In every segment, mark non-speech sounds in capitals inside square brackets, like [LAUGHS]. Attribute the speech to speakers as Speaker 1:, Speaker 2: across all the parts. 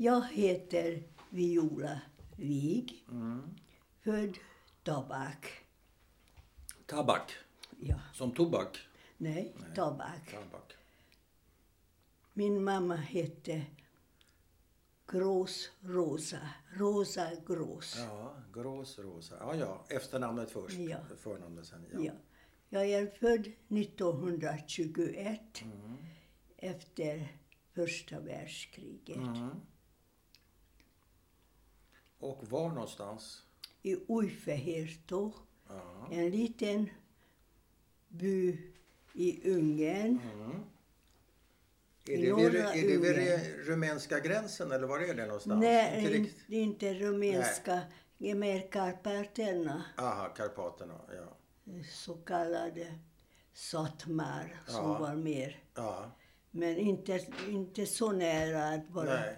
Speaker 1: Jag heter Viola Wig,
Speaker 2: Mm.
Speaker 1: född Tabak.
Speaker 2: Tabak.
Speaker 1: Ja,
Speaker 2: Som tobak.
Speaker 1: nej,
Speaker 2: Nej.
Speaker 1: Tabak.
Speaker 2: Tabak.
Speaker 1: Min mamma hette Grås Rosa, Rosa Grås.
Speaker 2: Ja, Gråsrosa. Ja, ja. Efternamnet först.
Speaker 1: Ja.
Speaker 2: Förnamnet sen. Ja.
Speaker 1: Ja. Jag är född 1921
Speaker 2: Mm.
Speaker 1: efter första världskriget.
Speaker 2: Mm. Och var någonstans?
Speaker 1: I Uifeherto,
Speaker 2: Ja.
Speaker 1: en liten by i Ungern.
Speaker 2: Mm.
Speaker 1: I
Speaker 2: Är det, vid,
Speaker 1: norra
Speaker 2: är det vid
Speaker 1: Ungern.
Speaker 2: re- rumänska gränsen eller var är det någonstans?
Speaker 1: Nej,
Speaker 2: Inte
Speaker 1: inte,
Speaker 2: rikt-
Speaker 1: inte rumänska. Det är mer Karpaterna,
Speaker 2: Aha, Karpaterna. Ja.
Speaker 1: så kallade satmar, som
Speaker 2: Ja.
Speaker 1: var mer.
Speaker 2: ja.
Speaker 1: Men inte, inte så nära att vara...
Speaker 2: Nej.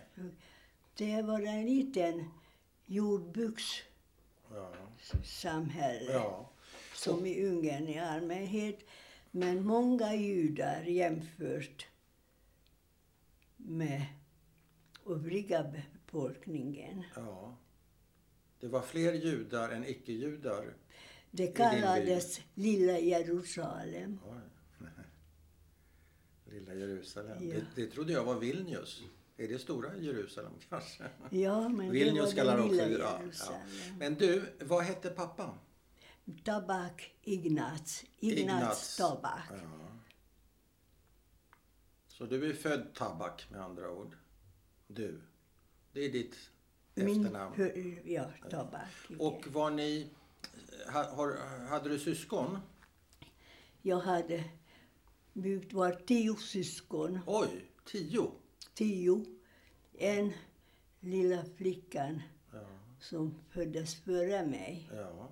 Speaker 1: Det var en liten jordbrukssamhälle
Speaker 2: Ja. ja.
Speaker 1: som i Ungern i allmänhet. Men många judar jämfört med övriga befolkningen.
Speaker 2: ja. Det var fler judar än icke-judar.
Speaker 1: Det
Speaker 2: din by?
Speaker 1: kallades Lilla Jerusalem.
Speaker 2: Oj. [LAUGHS] Lilla Jerusalem.
Speaker 1: Ja.
Speaker 2: Det, det trodde jag var Vilnius. Är det stora Jerusalem kanske?
Speaker 1: Ja, men
Speaker 2: Vilnius
Speaker 1: det var
Speaker 2: kallar
Speaker 1: det
Speaker 2: också
Speaker 1: Lilla
Speaker 2: ja, ja.
Speaker 1: Jerusalem.
Speaker 2: Men du, vad hette pappa?
Speaker 1: Tabak Ignaz. Ignaz, Tabak.
Speaker 2: Ja. Så du är född Tabak med andra ord? Du. Det är ditt efternamn.
Speaker 1: hö- ja, Tabak.
Speaker 2: Och var ni... eh, Ha, har, hade du syskon?
Speaker 1: Jag hade byggt var tio syskon.
Speaker 2: Oj, tio!
Speaker 1: Tio. En lilla flickan
Speaker 2: Ja,
Speaker 1: som föddes före mig.
Speaker 2: ja.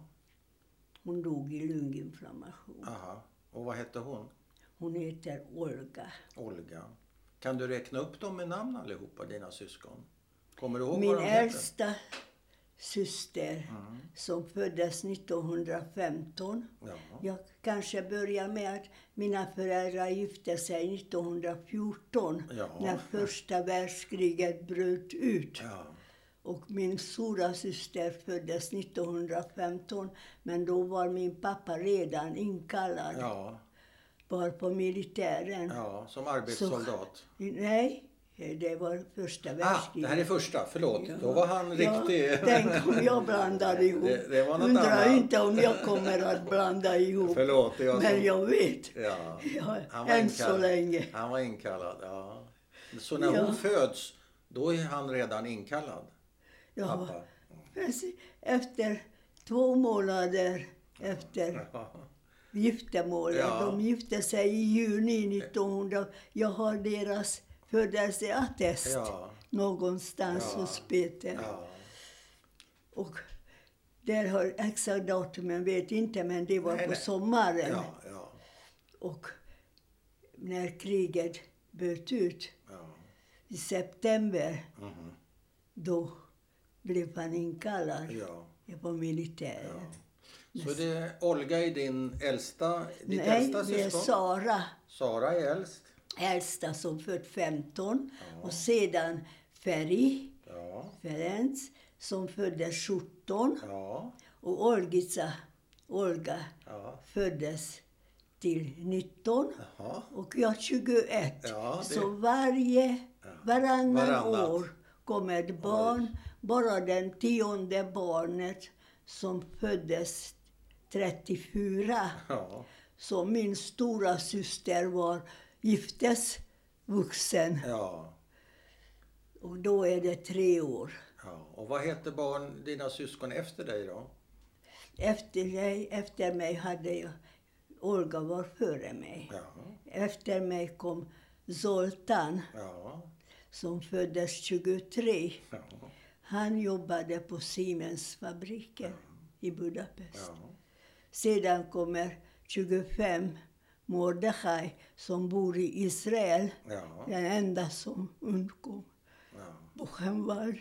Speaker 1: Hon dog i lunginflammation.
Speaker 2: Aha. Och vad hette hon?
Speaker 1: Hon heter Olga.
Speaker 2: Olga. Kan du räkna upp dem med namn allihopa, dina syskon? Kommer du ihåg
Speaker 1: Min
Speaker 2: vad de heter?
Speaker 1: äldsta syster som föddes 1915.
Speaker 2: Ja.
Speaker 1: Jag kanske börjar med att mina föräldrar gifte sig 1914
Speaker 2: Ja.
Speaker 1: när första världskriget bröt ut.
Speaker 2: ja.
Speaker 1: Och min stora syster föddes 1915 men då var min pappa redan inkallad.
Speaker 2: Ja.
Speaker 1: Var på militären.
Speaker 2: ja, som arbetssoldat.
Speaker 1: Nej, det var första
Speaker 2: Ah,
Speaker 1: världskriget.
Speaker 2: det här är första, förlåt.
Speaker 1: Ja.
Speaker 2: Då var han riktig.
Speaker 1: Ja, tänk om jag blandade ihop.
Speaker 2: Det, det var något
Speaker 1: Undrar
Speaker 2: annat.
Speaker 1: inte om jag kommer att blanda ihop.
Speaker 2: Förlåt, det är jag
Speaker 1: Men
Speaker 2: som-
Speaker 1: jag vet.
Speaker 2: [LAUGHS] Ja.
Speaker 1: Ja,
Speaker 2: Han var
Speaker 1: än
Speaker 2: inkallad.
Speaker 1: så länge.
Speaker 2: Han var inkallad, ja. Så när
Speaker 1: Ja.
Speaker 2: hon föds, då är han redan inkallad,
Speaker 1: Ja,
Speaker 2: pappa?
Speaker 1: precis. Efter två månader efter
Speaker 2: Ja.
Speaker 1: giftermålet.
Speaker 2: Ja.
Speaker 1: De gifte sig i juni 1900. Jag har deras födelseattest
Speaker 2: Ja.
Speaker 1: någonstans
Speaker 2: Ja.
Speaker 1: hos Peter.
Speaker 2: ja.
Speaker 1: Och där har exakt datumen vet inte, men det var
Speaker 2: Nej,
Speaker 1: på
Speaker 2: nej.
Speaker 1: sommaren.
Speaker 2: Ja, ja,
Speaker 1: Och när kriget bröt ut
Speaker 2: ja.
Speaker 1: i september,
Speaker 2: Mhm.
Speaker 1: då blev han inkallad
Speaker 2: ja.
Speaker 1: på militären.
Speaker 2: Ja. Så det är Olga är din äldsta, ditt
Speaker 1: Nej,
Speaker 2: äldsta
Speaker 1: det är
Speaker 2: syskon?
Speaker 1: Sara,
Speaker 2: Sara är äldst.
Speaker 1: äldsta, som fött 15.
Speaker 2: Ja.
Speaker 1: Och sedan Ferry,
Speaker 2: Ja.
Speaker 1: Ferenc, som föddes 17.
Speaker 2: Ja.
Speaker 1: Och Olgica, Olga,
Speaker 2: Ja.
Speaker 1: föddes till 19.
Speaker 2: Jaha.
Speaker 1: Och jag 21.
Speaker 2: Ja, det-
Speaker 1: Så varje, varannan
Speaker 2: Varannat.
Speaker 1: år kommer ett barn. Bara den tionde barnet som föddes 34.
Speaker 2: Ja.
Speaker 1: Så min stora syster var giftes vuxen.
Speaker 2: Ja.
Speaker 1: Och då är det tre år.
Speaker 2: ja. Och vad hette barn, dina syskon efter dig då?
Speaker 1: Efter, mig- efter mig hade jag... Olga var före mig.
Speaker 2: Ja.
Speaker 1: Efter mig kom Zoltan
Speaker 2: Ja.
Speaker 1: som föddes 23.
Speaker 2: Ja.
Speaker 1: Han jobbade på Siemens fabriker i Budapest.
Speaker 2: ja.
Speaker 1: Sedan kommer 25 Mordechai som bor i Israel.
Speaker 2: ja.
Speaker 1: Den enda som undkom
Speaker 2: ja.
Speaker 1: Buchenwald.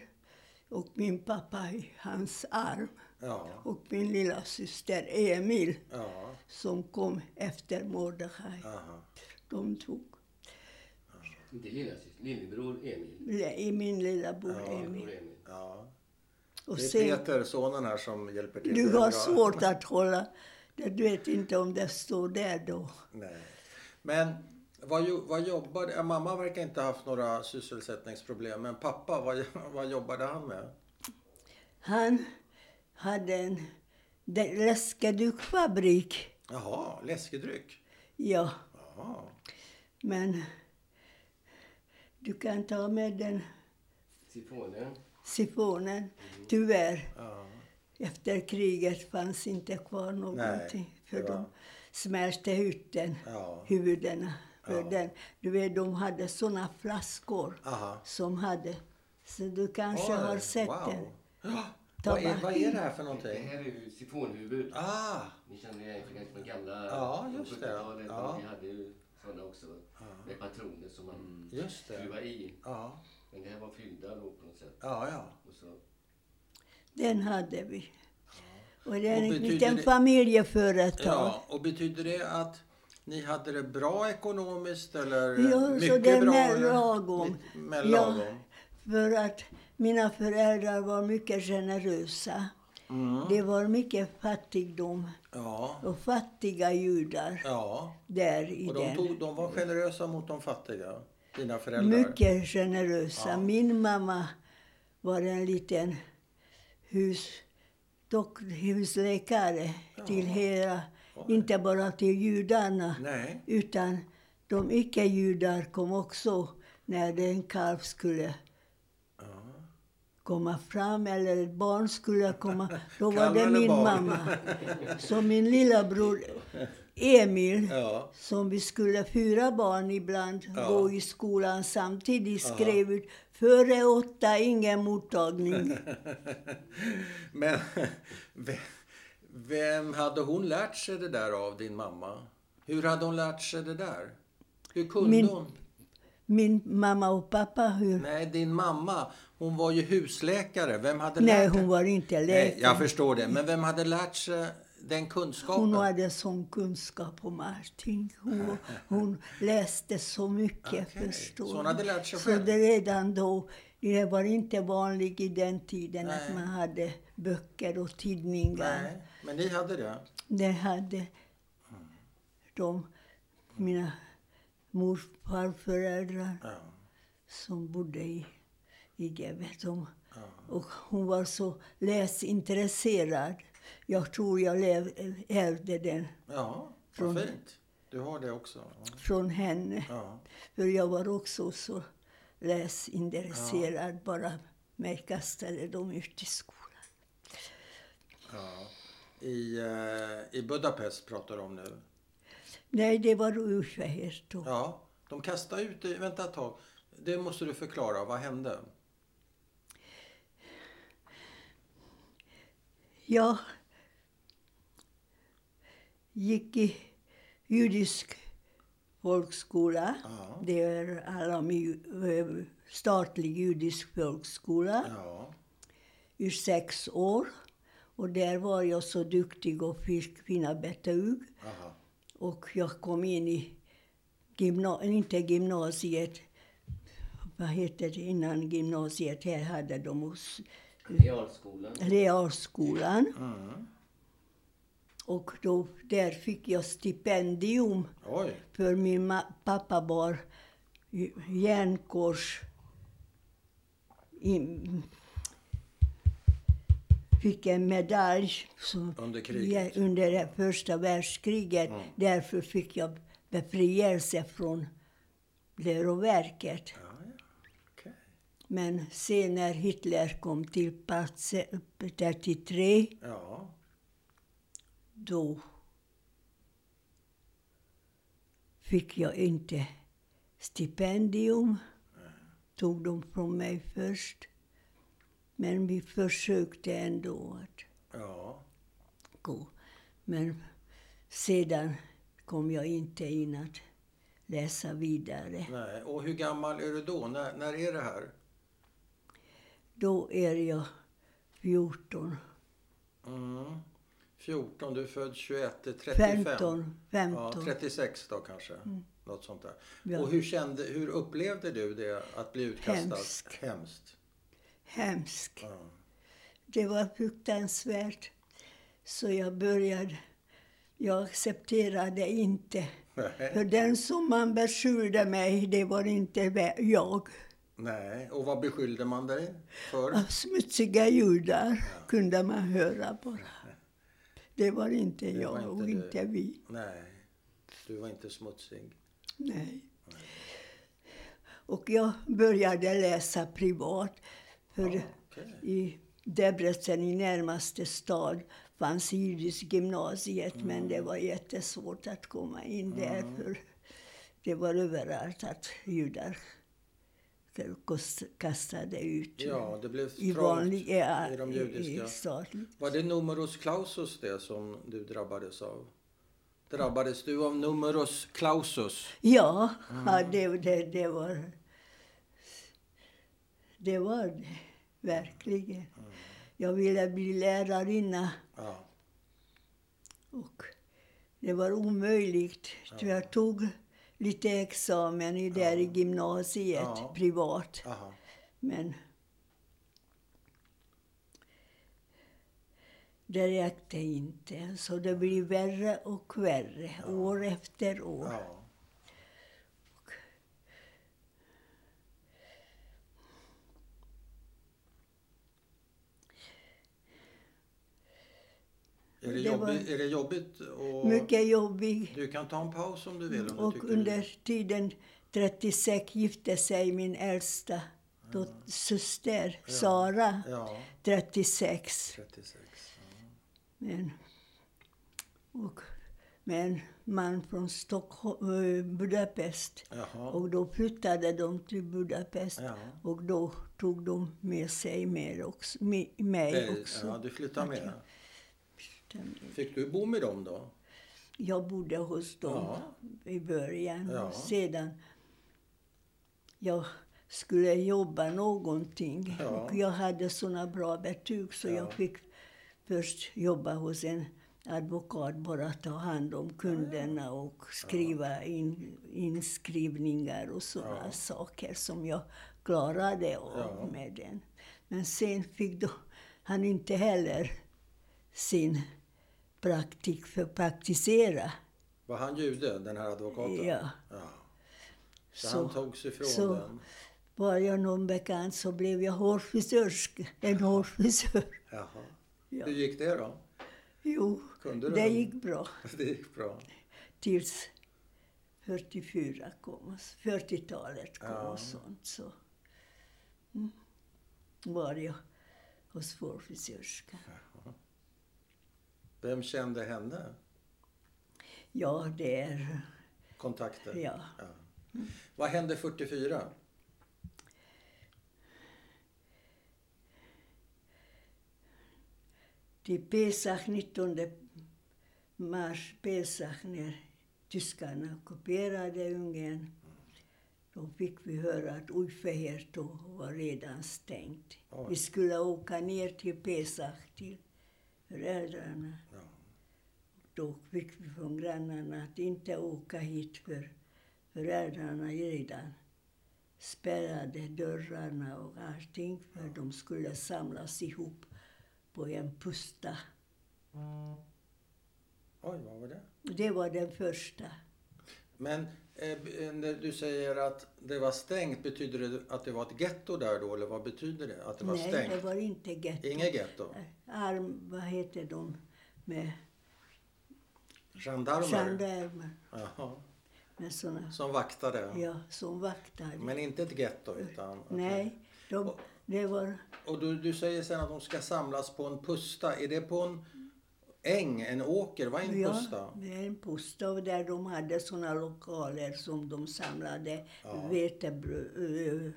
Speaker 1: Och min pappa i hans arm.
Speaker 2: Ja,
Speaker 1: Och min lilla syster Emil
Speaker 2: ja,
Speaker 1: som kom efter Mordechai.
Speaker 2: aha.
Speaker 1: De tog.
Speaker 3: Inte lillasyster, lillebror Emil.
Speaker 1: Le- I min lilla bror
Speaker 2: Ja.
Speaker 3: Bror
Speaker 1: Emil.
Speaker 3: Emil.
Speaker 2: Ja.
Speaker 1: Och
Speaker 2: det är
Speaker 1: sen,
Speaker 2: Peter, sonen här, som hjälper till.
Speaker 1: du
Speaker 2: Det är
Speaker 1: har
Speaker 2: bra.
Speaker 1: svårt att hålla... det- Du vet inte om det står där då.
Speaker 2: Nej. Men vad, jo- vad jobbade... ja, Mamma verkar inte ha haft några sysselsättningsproblem. Men pappa, vad, [LAUGHS] vad jobbade han med?
Speaker 1: Han hade en de- läskedukfabrik.
Speaker 2: Jaha, läskedryck.
Speaker 1: Ja,
Speaker 2: Jaha.
Speaker 1: men du kan ta med den
Speaker 3: Sifonen.
Speaker 1: sifonen. Tyvärr,
Speaker 2: Ja.
Speaker 1: efter kriget fanns inte kvar någonting.
Speaker 2: Nej, det
Speaker 1: för
Speaker 2: var-
Speaker 1: de smärste huden,
Speaker 2: Ja.
Speaker 1: huvudena. För
Speaker 2: Ja.
Speaker 1: den. Du vet, de hade såna flaskor
Speaker 2: Aha.
Speaker 1: som hade... Så du kanske
Speaker 2: Oj,
Speaker 1: har sett
Speaker 2: wow.
Speaker 1: den.
Speaker 2: Ja. [GASPS] Vad är, vad är det här för
Speaker 3: Det
Speaker 2: någonting?
Speaker 3: här är ju sifonhuvud.
Speaker 2: Ah,
Speaker 3: Ni känner igen för kanske från gamla
Speaker 2: Ja, just det.
Speaker 3: 70-talet.
Speaker 2: Ja.
Speaker 3: Vi hade ju sådana också. Med patroner som man
Speaker 2: Mm. just det.
Speaker 3: skruvar i.
Speaker 2: Ja,
Speaker 3: Men det här var fyllda då på något sätt.
Speaker 2: ja, ja.
Speaker 3: Och så,
Speaker 1: Den hade vi. Och det är
Speaker 2: Och
Speaker 1: en
Speaker 2: betyder
Speaker 1: liten
Speaker 2: det-
Speaker 1: familjeföretag.
Speaker 2: ja. Och betyder det att ni hade det bra ekonomiskt eller
Speaker 1: Ja, så
Speaker 2: mycket
Speaker 1: det är
Speaker 2: bra?
Speaker 1: med
Speaker 2: eller?
Speaker 1: lagom.
Speaker 2: Lite- Med
Speaker 1: Ja.
Speaker 2: lagom?
Speaker 1: För att mina föräldrar var mycket generösa.
Speaker 2: Mm.
Speaker 1: Det var mycket fattigdom
Speaker 2: Ja.
Speaker 1: och fattiga judar
Speaker 2: ja.
Speaker 1: där i
Speaker 2: Och de,
Speaker 1: den.
Speaker 2: tog, de var generösa mot de fattiga, dina föräldrar?
Speaker 1: Mycket generösa. Min mamma var en liten hus, dock, husläkare till hela, inte bara till judarna.
Speaker 2: Nej.
Speaker 1: Utan de icke-judar kom också när en kalv skulle komma fram eller ett barn skulle komma. Då var
Speaker 2: Kalv
Speaker 1: det
Speaker 2: eller
Speaker 1: min
Speaker 2: barn?
Speaker 1: mamma. Så min lillabror Emil,
Speaker 2: Ja.
Speaker 1: som vi skulle fyra barn ibland
Speaker 2: Ja.
Speaker 1: gå i skolan samtidigt, skrev ut före åtta ingen
Speaker 2: [LAUGHS]
Speaker 1: mottagning.
Speaker 2: Men [LAUGHS] vem, vem hade hon lärt sig det där av, din mamma? Hur hade hon lärt sig det där? Hur kunde
Speaker 1: Min-
Speaker 2: hon?
Speaker 1: Min mamma och pappa, hur?
Speaker 2: Nej, din mamma, hon var ju husläkare. Vem hade
Speaker 1: Nej,
Speaker 2: lärt
Speaker 1: hon var inte
Speaker 2: Nej,
Speaker 1: läkare.
Speaker 2: jag förstår det. Men vem hade lärt sig den kunskapen?
Speaker 1: Hon hade sån kunskap om allting. Hon, hon läste så mycket,
Speaker 2: Okej,
Speaker 1: förstår
Speaker 2: så hon
Speaker 1: du.
Speaker 2: hade lärt sig
Speaker 1: Så
Speaker 2: själv?
Speaker 1: det redan då, det var inte vanligt i den tiden
Speaker 2: Nej.
Speaker 1: att man hade böcker och tidningar.
Speaker 2: Nej, men ni hade det?
Speaker 1: Det hade de, mina morfarföräldrar
Speaker 2: Ja.
Speaker 1: som bodde i, i Gävle. De, och hon var så läsintresserad. Jag tror jag lev, ärvde den
Speaker 2: Ja,
Speaker 1: Från-
Speaker 2: vad fint. Du har det också? Ja.
Speaker 1: från henne.
Speaker 2: Ja.
Speaker 1: För jag var också så läsintresserad. Bara mig kastade de ut i skolan.
Speaker 2: ja. I, eh, I Budapest pratar de om nu.
Speaker 1: Nej, det var Ujfeher då.
Speaker 2: Ja, de kastade ut dig. Vänta ett tag. Det måste du förklara. Vad hände?
Speaker 1: Jag gick i judisk folkskola.
Speaker 2: Ja.
Speaker 1: Det är alla ju- eh, statlig judisk folkskola
Speaker 2: Ja.
Speaker 1: i sex år. Och där var jag så duktig och fick fina betyg.
Speaker 2: Aha.
Speaker 1: Och jag kom in i, gymna- inte gymnasiet, vad heter det innan gymnasiet? Här hade de oss-
Speaker 3: realskolan.
Speaker 1: realskolan.
Speaker 2: Mm.
Speaker 1: Och då, där fick jag stipendium
Speaker 2: Oj.
Speaker 1: för min ma- pappa var j- järnkors... i- Fick en medalj som,
Speaker 2: Under kriget.
Speaker 1: Ja, under det första världskriget. Därför fick jag befrielse från läroverket.
Speaker 2: Ja, ja. Okej.
Speaker 1: Men sen när Hitler kom till plats 33
Speaker 2: Ja.
Speaker 1: då fick jag inte stipendium. Tog de från mig först. Men vi försökte ändå att
Speaker 2: Ja.
Speaker 1: gå. Men sedan kom jag inte in att läsa vidare.
Speaker 2: Nej. Och hur gammal är du då? När, när är det här?
Speaker 1: Då är jag 14.
Speaker 2: Mm. 14, du är född 21, det är 35.
Speaker 1: 15,
Speaker 2: Ja,
Speaker 1: 15.
Speaker 2: 36 då kanske. Något sånt där.
Speaker 1: Mm. Ja.
Speaker 2: Och hur, kände, hur upplevde du det att bli utkastad?
Speaker 1: Hemskt.
Speaker 2: Hemskt.
Speaker 1: Hemskt.
Speaker 2: Ja.
Speaker 1: Det var fruktansvärt. Så jag började... Jag accepterade inte. För den som man beskyllde mig, det var inte vä- jag.
Speaker 2: Nej, och vad beskyllde man dig för?
Speaker 1: Av smutsiga judar kunde man höra bara. Det var inte
Speaker 2: Det
Speaker 1: jag
Speaker 2: var inte
Speaker 1: och
Speaker 2: du.
Speaker 1: inte vi.
Speaker 2: Nej, du var inte smutsig.
Speaker 1: Nej. Och jag började läsa privat. För
Speaker 2: Ah, okej.
Speaker 1: i Debrecen, i närmaste stad, fanns judisk gymnasiet.
Speaker 2: Mm.
Speaker 1: Men det var jättesvårt att komma in där. För det var överallt att judar kost- kastade ut.
Speaker 2: Ja, det blev
Speaker 1: I
Speaker 2: trångt
Speaker 1: vanlig... Ja,
Speaker 2: i de
Speaker 1: i,
Speaker 2: judiska.
Speaker 1: i staden.
Speaker 2: Var det numerus clausus det som du drabbades av? Drabbades du av numerus clausus?
Speaker 1: Ja,
Speaker 2: Mm.
Speaker 1: ja det, det, det var... Det var det, verkligen.
Speaker 2: Mm.
Speaker 1: Jag ville bli lärarinna
Speaker 2: Ja,
Speaker 1: och det var omöjligt. Så jag tog lite examen i där i gymnasiet,
Speaker 2: Ja.
Speaker 1: privat.
Speaker 2: aha.
Speaker 1: Men... Det räckte inte, så det blev värre och värre, år efter år.
Speaker 2: Ja. Är det,
Speaker 1: Det var-
Speaker 2: jobbigt, är det jobbigt? Och
Speaker 1: Mycket jobbig.
Speaker 2: Du kan ta en paus om du vill. Om du
Speaker 1: Mm. Och
Speaker 2: tycker
Speaker 1: under tiden 36 gifte sig min äldsta dot-
Speaker 2: Mm.
Speaker 1: syster Sara,
Speaker 2: Du... Ja,
Speaker 1: 36.
Speaker 2: 36.
Speaker 1: Men, och, med en man från Stockholm, eh, Budapest.
Speaker 2: Jaha.
Speaker 1: Och då flyttade de till Budapest.
Speaker 2: Ja.
Speaker 1: Och då tog de med sig mer också, mi- mig
Speaker 2: Eh,
Speaker 1: också.
Speaker 2: Ja, du flyttar med.
Speaker 1: Den-
Speaker 2: Fick du bo med dem då?
Speaker 1: Jag bodde hos dem
Speaker 2: Ja.
Speaker 1: i början.
Speaker 2: Ja.
Speaker 1: Sedan jag skulle jobba någonting
Speaker 2: Ja.
Speaker 1: och jag hade såna bra betyg så
Speaker 2: Ja.
Speaker 1: jag fick först jobba hos en advokat bara ta hand om kunderna och skriva in, inskrivningar och såna
Speaker 2: Ja.
Speaker 1: saker som jag klarade av
Speaker 2: Ja.
Speaker 1: med den. Men sen fick då han inte heller sin praktik för att praktisera.
Speaker 2: Var han jude, den här advokaten?
Speaker 1: Ja.
Speaker 2: ja. Så,
Speaker 1: Så,
Speaker 2: han togs ifrån
Speaker 1: så-
Speaker 2: den?
Speaker 1: var jag någon bekant så blev jag hårfrisörska. En hårfrisör.
Speaker 2: Jaha.
Speaker 1: Ja.
Speaker 2: Hur gick det då? [LAUGHS]
Speaker 1: Jo,
Speaker 2: Kunde du
Speaker 1: det
Speaker 2: den?
Speaker 1: gick bra.
Speaker 2: Det gick bra.
Speaker 1: Tills 44 kom, och- 40-talet kom
Speaker 2: Ja.
Speaker 1: och sånt. Så mm. var jag hos vår frisörska.
Speaker 2: Vem kände henne?
Speaker 1: Ja, det är...
Speaker 2: Kontakter?
Speaker 1: Ja.
Speaker 2: Vad hände 44?
Speaker 1: Till Pesach, 19 mars, Pesach, när tyskarna ockuperade Ungern. Då fick vi höra att Ujfeherto var redan stängt.
Speaker 2: Oj.
Speaker 1: Vi skulle åka ner till Pesach, till föräldrarna.
Speaker 2: Ja.
Speaker 1: Då fick vi från grannarna att inte åka hit för föräldrarna redan spärrade dörrarna och allting för de skulle samlas ihop på en pusta.
Speaker 2: Oj, vad var det?
Speaker 1: Det var den första.
Speaker 2: Men eh, b- eh, när du säger att det var stängt, betyder det att det var ett getto där då? Eller vad betyder det? Att det var
Speaker 1: Nej,
Speaker 2: stängt?
Speaker 1: det var inte getto.
Speaker 2: Inget getto?
Speaker 1: Arm, vad heter de med
Speaker 2: Gendarmer?
Speaker 1: gendarmer
Speaker 2: Jaha.
Speaker 1: med såna,
Speaker 2: Som vaktade?
Speaker 1: ja, som vaktade.
Speaker 2: Men inte ett getto? Utan,
Speaker 1: Nej, de, det var,
Speaker 2: Och du, du säger sen att de ska samlas på en pusta. Är det på en äng, en åker? Vad är en
Speaker 1: ja,
Speaker 2: pusta?
Speaker 1: det är en pusta och där de hade såna lokaler som de samlade
Speaker 2: Ja.
Speaker 1: vetebröd,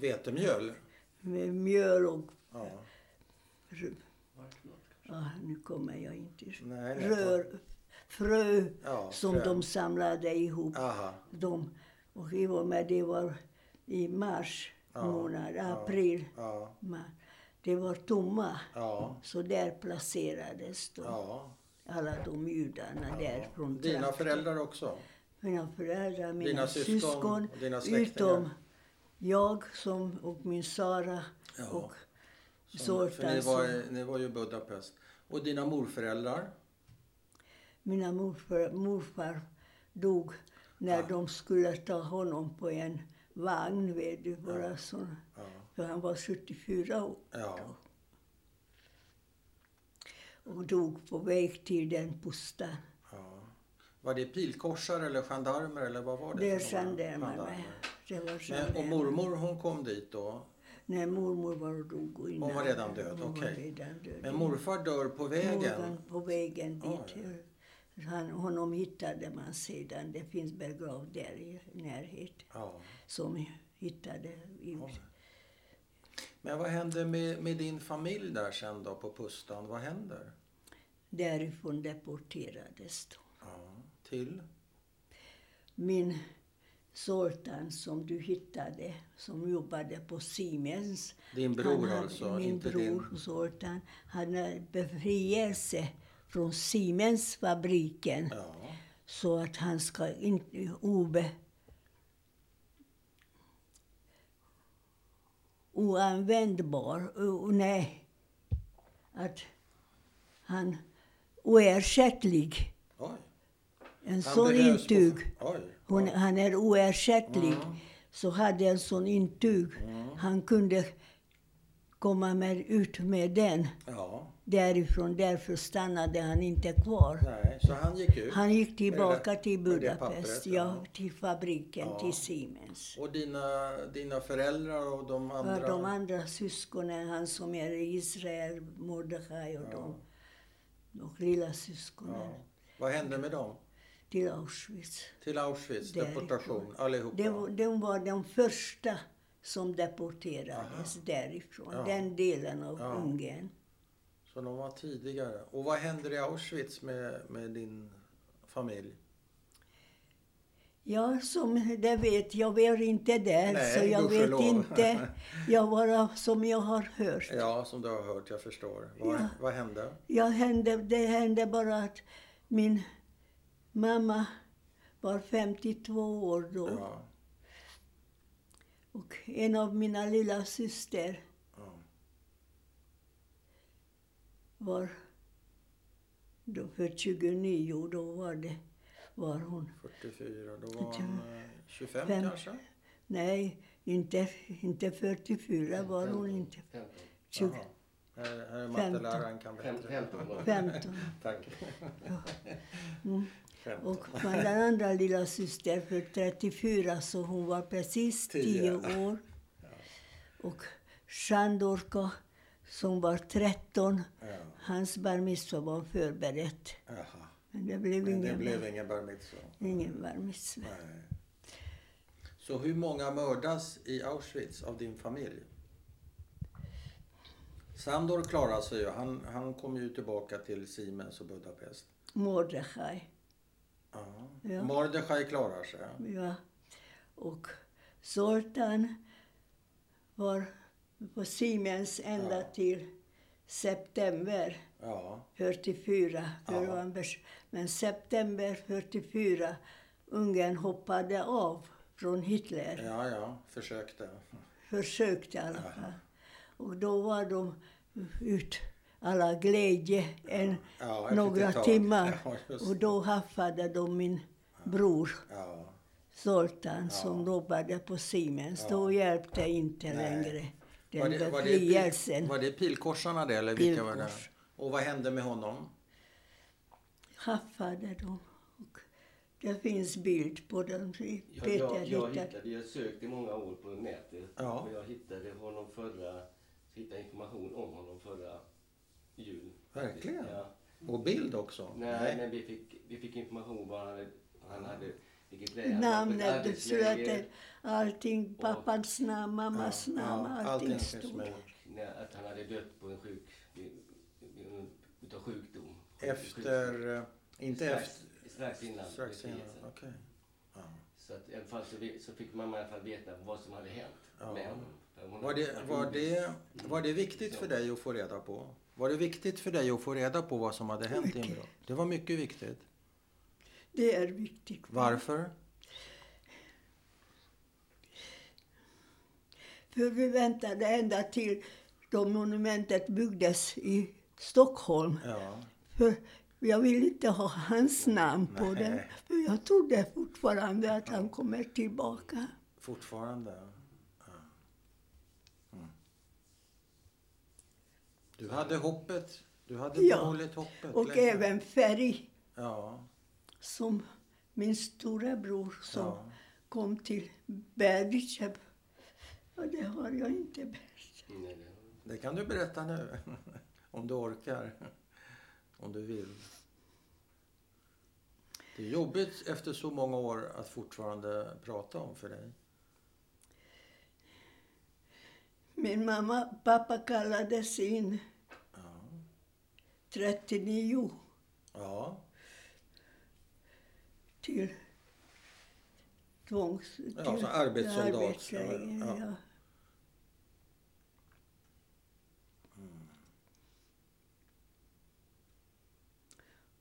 Speaker 2: Vetemjöl?
Speaker 1: med mjöl och
Speaker 2: Ja.
Speaker 1: Ja, nu kommer jag inte ihåg.
Speaker 2: Nej, nej,
Speaker 1: Rör, frö
Speaker 2: Ja,
Speaker 1: som
Speaker 2: frön.
Speaker 1: de samlade ihop.
Speaker 2: Aha.
Speaker 1: De, och i och med det var i mars
Speaker 2: Ja,
Speaker 1: månad,
Speaker 2: ja,
Speaker 1: april.
Speaker 2: Ja.
Speaker 1: Ma- Det var tomma.
Speaker 2: Ja.
Speaker 1: Så där placerades de,
Speaker 2: ja.
Speaker 1: alla de judarna där från
Speaker 2: Dina
Speaker 1: trakten.
Speaker 2: föräldrar också?
Speaker 1: Mina föräldrar, mina
Speaker 2: Dina syskon,
Speaker 1: syskon,
Speaker 2: och dina släktingar.
Speaker 1: utom jag som, och min Sara
Speaker 2: Ja,
Speaker 1: och
Speaker 2: Som, för
Speaker 1: Zoltan.
Speaker 2: ni, var,
Speaker 1: som-
Speaker 2: i- ni var ju i Budapest. Och dina morföräldrar?
Speaker 1: Mina morfar, morfar dog när
Speaker 2: Ah.
Speaker 1: de skulle ta honom på en vagn, vet du, bara så.
Speaker 2: Ja.
Speaker 1: För han var 74 år
Speaker 2: ja.
Speaker 1: och dog på väg till den postan.
Speaker 2: ja. Var det pilkorsare eller gendarmer eller vad var det?
Speaker 1: Det är
Speaker 2: för några?
Speaker 1: gendarmerna. Det var
Speaker 2: Men, och
Speaker 1: gendarmerna.
Speaker 2: mormor hon kom dit då?
Speaker 1: Nej, mormor var och dog. och innan-
Speaker 2: var redan död,
Speaker 1: hon var
Speaker 2: okej.
Speaker 1: redan död.
Speaker 2: Men morfar dör på vägen?
Speaker 1: Morgon på vägen
Speaker 2: Ja,
Speaker 1: dit. Han, honom hittade man sedan. Det finns begravd där i närhet.
Speaker 2: Ja.
Speaker 1: Som hittade i,
Speaker 2: Men vad hände med, med din familj där sen då på Pustan? Vad händer?
Speaker 1: Därifrån deporterades de.
Speaker 2: Ja. Till?
Speaker 1: Min Zoltan som du hittade, som jobbade på Siemens.
Speaker 2: Din bror
Speaker 1: han hade,
Speaker 2: alltså,
Speaker 1: Min
Speaker 2: inte
Speaker 1: bror
Speaker 2: din-
Speaker 1: Zoltan. Han hade befrielse från Siemens-fabriken.
Speaker 2: Ja.
Speaker 1: så att han ska inte obe... oanvändbar. O, o- nej. Att han oersättlig.
Speaker 2: Oj.
Speaker 1: En
Speaker 2: Han
Speaker 1: sån
Speaker 2: behövs på-
Speaker 1: intug.
Speaker 2: Oj.
Speaker 1: Hon, Han är oersättlig.
Speaker 2: Mm.
Speaker 1: Så hade en sån intug. Han kunde komma med, ut med den
Speaker 2: Ja.
Speaker 1: därifrån. Därför stannade han inte kvar.
Speaker 2: Nej, så han gick ut.
Speaker 1: Han gick
Speaker 2: Med
Speaker 1: tillbaka
Speaker 2: det-
Speaker 1: till
Speaker 2: med det
Speaker 1: Budapest,
Speaker 2: pappret,
Speaker 1: ja, till fabriken,
Speaker 2: Ja.
Speaker 1: till Siemens.
Speaker 2: Och dina, dina föräldrar och de andra?
Speaker 1: Andra. De andra syskonen, han som är i Israel, Mordechai och
Speaker 2: Ja.
Speaker 1: de, och lilla syskonen,
Speaker 2: Ja. Vad hände med dem?
Speaker 1: till Auschwitz.
Speaker 2: Till Auschwitz,
Speaker 1: Därifrån.
Speaker 2: deportation, allihopa?
Speaker 1: De, var- de var de första som deporterades därifrån,
Speaker 2: Ah. Ja.
Speaker 1: den delen av
Speaker 2: Ja.
Speaker 1: Ungern.
Speaker 2: Så de var tidigare. Och vad händer i Auschwitz med, med din familj?
Speaker 1: Ja, som det vet, jag var inte där,
Speaker 2: Nej,
Speaker 1: så jag vet
Speaker 2: gudskelov. [LAUGHS]
Speaker 1: inte. Jag bara som jag har hört.
Speaker 2: Ja, som du har hört, jag förstår. Vad,
Speaker 1: Ja.
Speaker 2: vad hände?
Speaker 1: Jag hände, det hände bara att min mamma var 52 år då.
Speaker 2: Ja,
Speaker 1: Och en av mina lilla syster
Speaker 2: ja,
Speaker 1: var då för 29, då var det var hon.
Speaker 2: 44, då var
Speaker 1: Tjugofem.
Speaker 2: hon eh, 25
Speaker 1: Fem.
Speaker 2: kanske?
Speaker 1: Nej, inte, inte 44 var hon inte.
Speaker 3: 15.
Speaker 1: 20,
Speaker 2: Jaha. Här, här är
Speaker 1: Femton.
Speaker 2: matteläraren kan bättre.
Speaker 3: 15 var det.
Speaker 1: 15.
Speaker 2: Tack. [LAUGHS] Femton.
Speaker 1: Mm.
Speaker 2: [LAUGHS]
Speaker 1: Och med den andra lilla syster för 34, så hon var precis 10
Speaker 2: Tio.
Speaker 1: år. Och Sandorka som var 13,
Speaker 2: Ja.
Speaker 1: hans bar mitzvah var förberett.
Speaker 2: Jaha.
Speaker 1: Men det blev
Speaker 2: Men det
Speaker 1: ingen,
Speaker 2: blev ingen bar mitzvah.
Speaker 1: ingen bar mitzvah.
Speaker 2: Nej. Så hur många mördas i Auschwitz av din familj? Sandor klarade sig ju. Han, han kom ju tillbaka till Siemens och Budapest.
Speaker 1: Mordechai,
Speaker 2: Ja.
Speaker 1: Ja.
Speaker 2: Mordechai klarar sig.
Speaker 1: ja. Och Zoltan var på Siemens ända
Speaker 2: Ja.
Speaker 1: till september.
Speaker 2: Ja.
Speaker 1: 44. För
Speaker 2: Ja.
Speaker 1: ja. Men september 44, Ungern hoppade av från Hitler.
Speaker 2: ja, ja, försökte.
Speaker 1: Försökte i alla fall. Och då var de ut, alla glädje, en,
Speaker 2: Ja, ett
Speaker 1: några
Speaker 2: litet tag.
Speaker 1: timmar.
Speaker 2: Ja, just
Speaker 1: och då haffade de min bror
Speaker 2: Ja.
Speaker 1: Zoltan som jobbade på Siemens.
Speaker 2: Ja.
Speaker 1: Då hjälpte inte
Speaker 2: Nej.
Speaker 1: längre den
Speaker 2: Var det, var, det
Speaker 1: befrielsen.
Speaker 2: pil, var det pilkorsarna det eller vilka var det?
Speaker 1: Pilkors.
Speaker 2: Och vad hände med honom?
Speaker 1: haffade dem. Och det finns bild på dem.
Speaker 3: Jag,
Speaker 1: Peter
Speaker 3: jag, jag
Speaker 1: hittade.
Speaker 3: hittade, jag sökte i många år på nätet
Speaker 2: Ja.
Speaker 3: och jag hittade honom förra, hittade information om honom förra jul.
Speaker 2: Verkligen?
Speaker 3: Ja.
Speaker 2: Och bild också?
Speaker 3: Nej, men vi fick, vi fick information vad han hade, han hade vilket läge han var på, ett
Speaker 1: Namnet,
Speaker 3: arbetsläger
Speaker 1: slätet, allting.
Speaker 3: Och-
Speaker 1: Pappans namn, mammas
Speaker 2: Ja,
Speaker 1: namn,
Speaker 2: ja,
Speaker 1: allting,
Speaker 2: allting finns
Speaker 1: stod.
Speaker 2: med.
Speaker 3: och när, att han hade dött på en sjuk, utav sjukdom.
Speaker 2: Efter... eh, Inte
Speaker 3: strax,
Speaker 2: efter...
Speaker 3: Strax innan
Speaker 2: Strax innan,
Speaker 3: befrielsen.
Speaker 2: okej. Ja.
Speaker 3: Så att i alla fall så, vi- så fick mamma i alla fall veta vad som hade hänt
Speaker 2: Ja.
Speaker 3: med honom. För hon
Speaker 2: Var
Speaker 3: hade-
Speaker 2: det, var, det, var det viktigt för dig att få reda på? Var det viktigt för dig att få reda på vad som hade hänt i
Speaker 1: Mycket.
Speaker 2: Timrå? Det var mycket viktigt.
Speaker 1: Det är viktigt.
Speaker 2: Varför?
Speaker 1: För vi väntade ända till då monumentet byggdes i Stockholm.
Speaker 2: Ja.
Speaker 1: För jag vill inte ha hans namn på
Speaker 2: Nej.
Speaker 1: den. För jag trodde fortfarande att han kommer tillbaka.
Speaker 2: Fortfarande? Ja. Mm. Du hade hoppet. Du hade
Speaker 1: Ja.
Speaker 2: behållit hoppet.
Speaker 1: Och
Speaker 2: länge.
Speaker 1: även Ferry,
Speaker 2: Ja.
Speaker 1: som min stora bror som
Speaker 2: Ja.
Speaker 1: kom till Berdichev. Och det har jag inte. berättat.
Speaker 3: Nej, det-
Speaker 2: Det kan du berätta nu. [LAUGHS] Om du orkar. Om du vill. Det är jobbigt efter så många år att fortfarande prata om för dig.
Speaker 1: Min mamma och pappa kallades in
Speaker 2: Ja.
Speaker 1: 39
Speaker 2: Ja.
Speaker 1: till tvångs... Till
Speaker 2: Ja, som arbetssoldat.
Speaker 1: arbetsläger,
Speaker 2: Ja.
Speaker 1: Ja.
Speaker 2: Mm.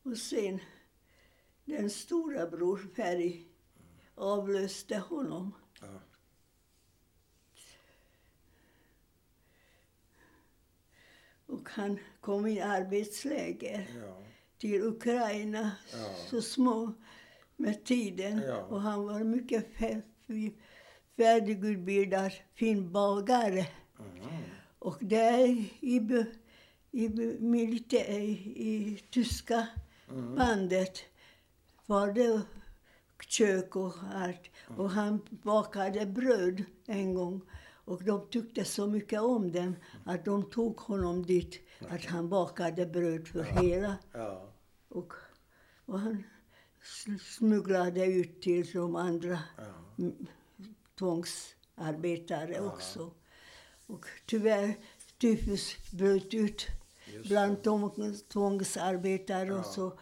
Speaker 1: Och sen, den stora bror Ferry avlöste honom.
Speaker 2: ja.
Speaker 1: Och han kom i arbetsläger
Speaker 2: ja.
Speaker 1: till Ukraina
Speaker 2: Ja.
Speaker 1: så små med tiden.
Speaker 2: Ja.
Speaker 1: Och han var mycket fär- fär- färdigutbildad finbagare.
Speaker 2: Mm.
Speaker 1: Och där i, be- i, be- militä- i, i tyska
Speaker 2: Mm.
Speaker 1: bandet var det kök och allt.
Speaker 2: Mm.
Speaker 1: Och han bakade bröd en gång. Och de tyckte så mycket om den att de tog honom dit. Att han bakade bröd för hela.
Speaker 2: Ja.
Speaker 1: Och, och han s- smugglade ut till de andra
Speaker 2: Ja.
Speaker 1: m- tvångsarbetare också. Och tyvärr tyfus bröt ut
Speaker 2: Just
Speaker 1: bland de tvångsarbetare
Speaker 2: Ja.
Speaker 1: och så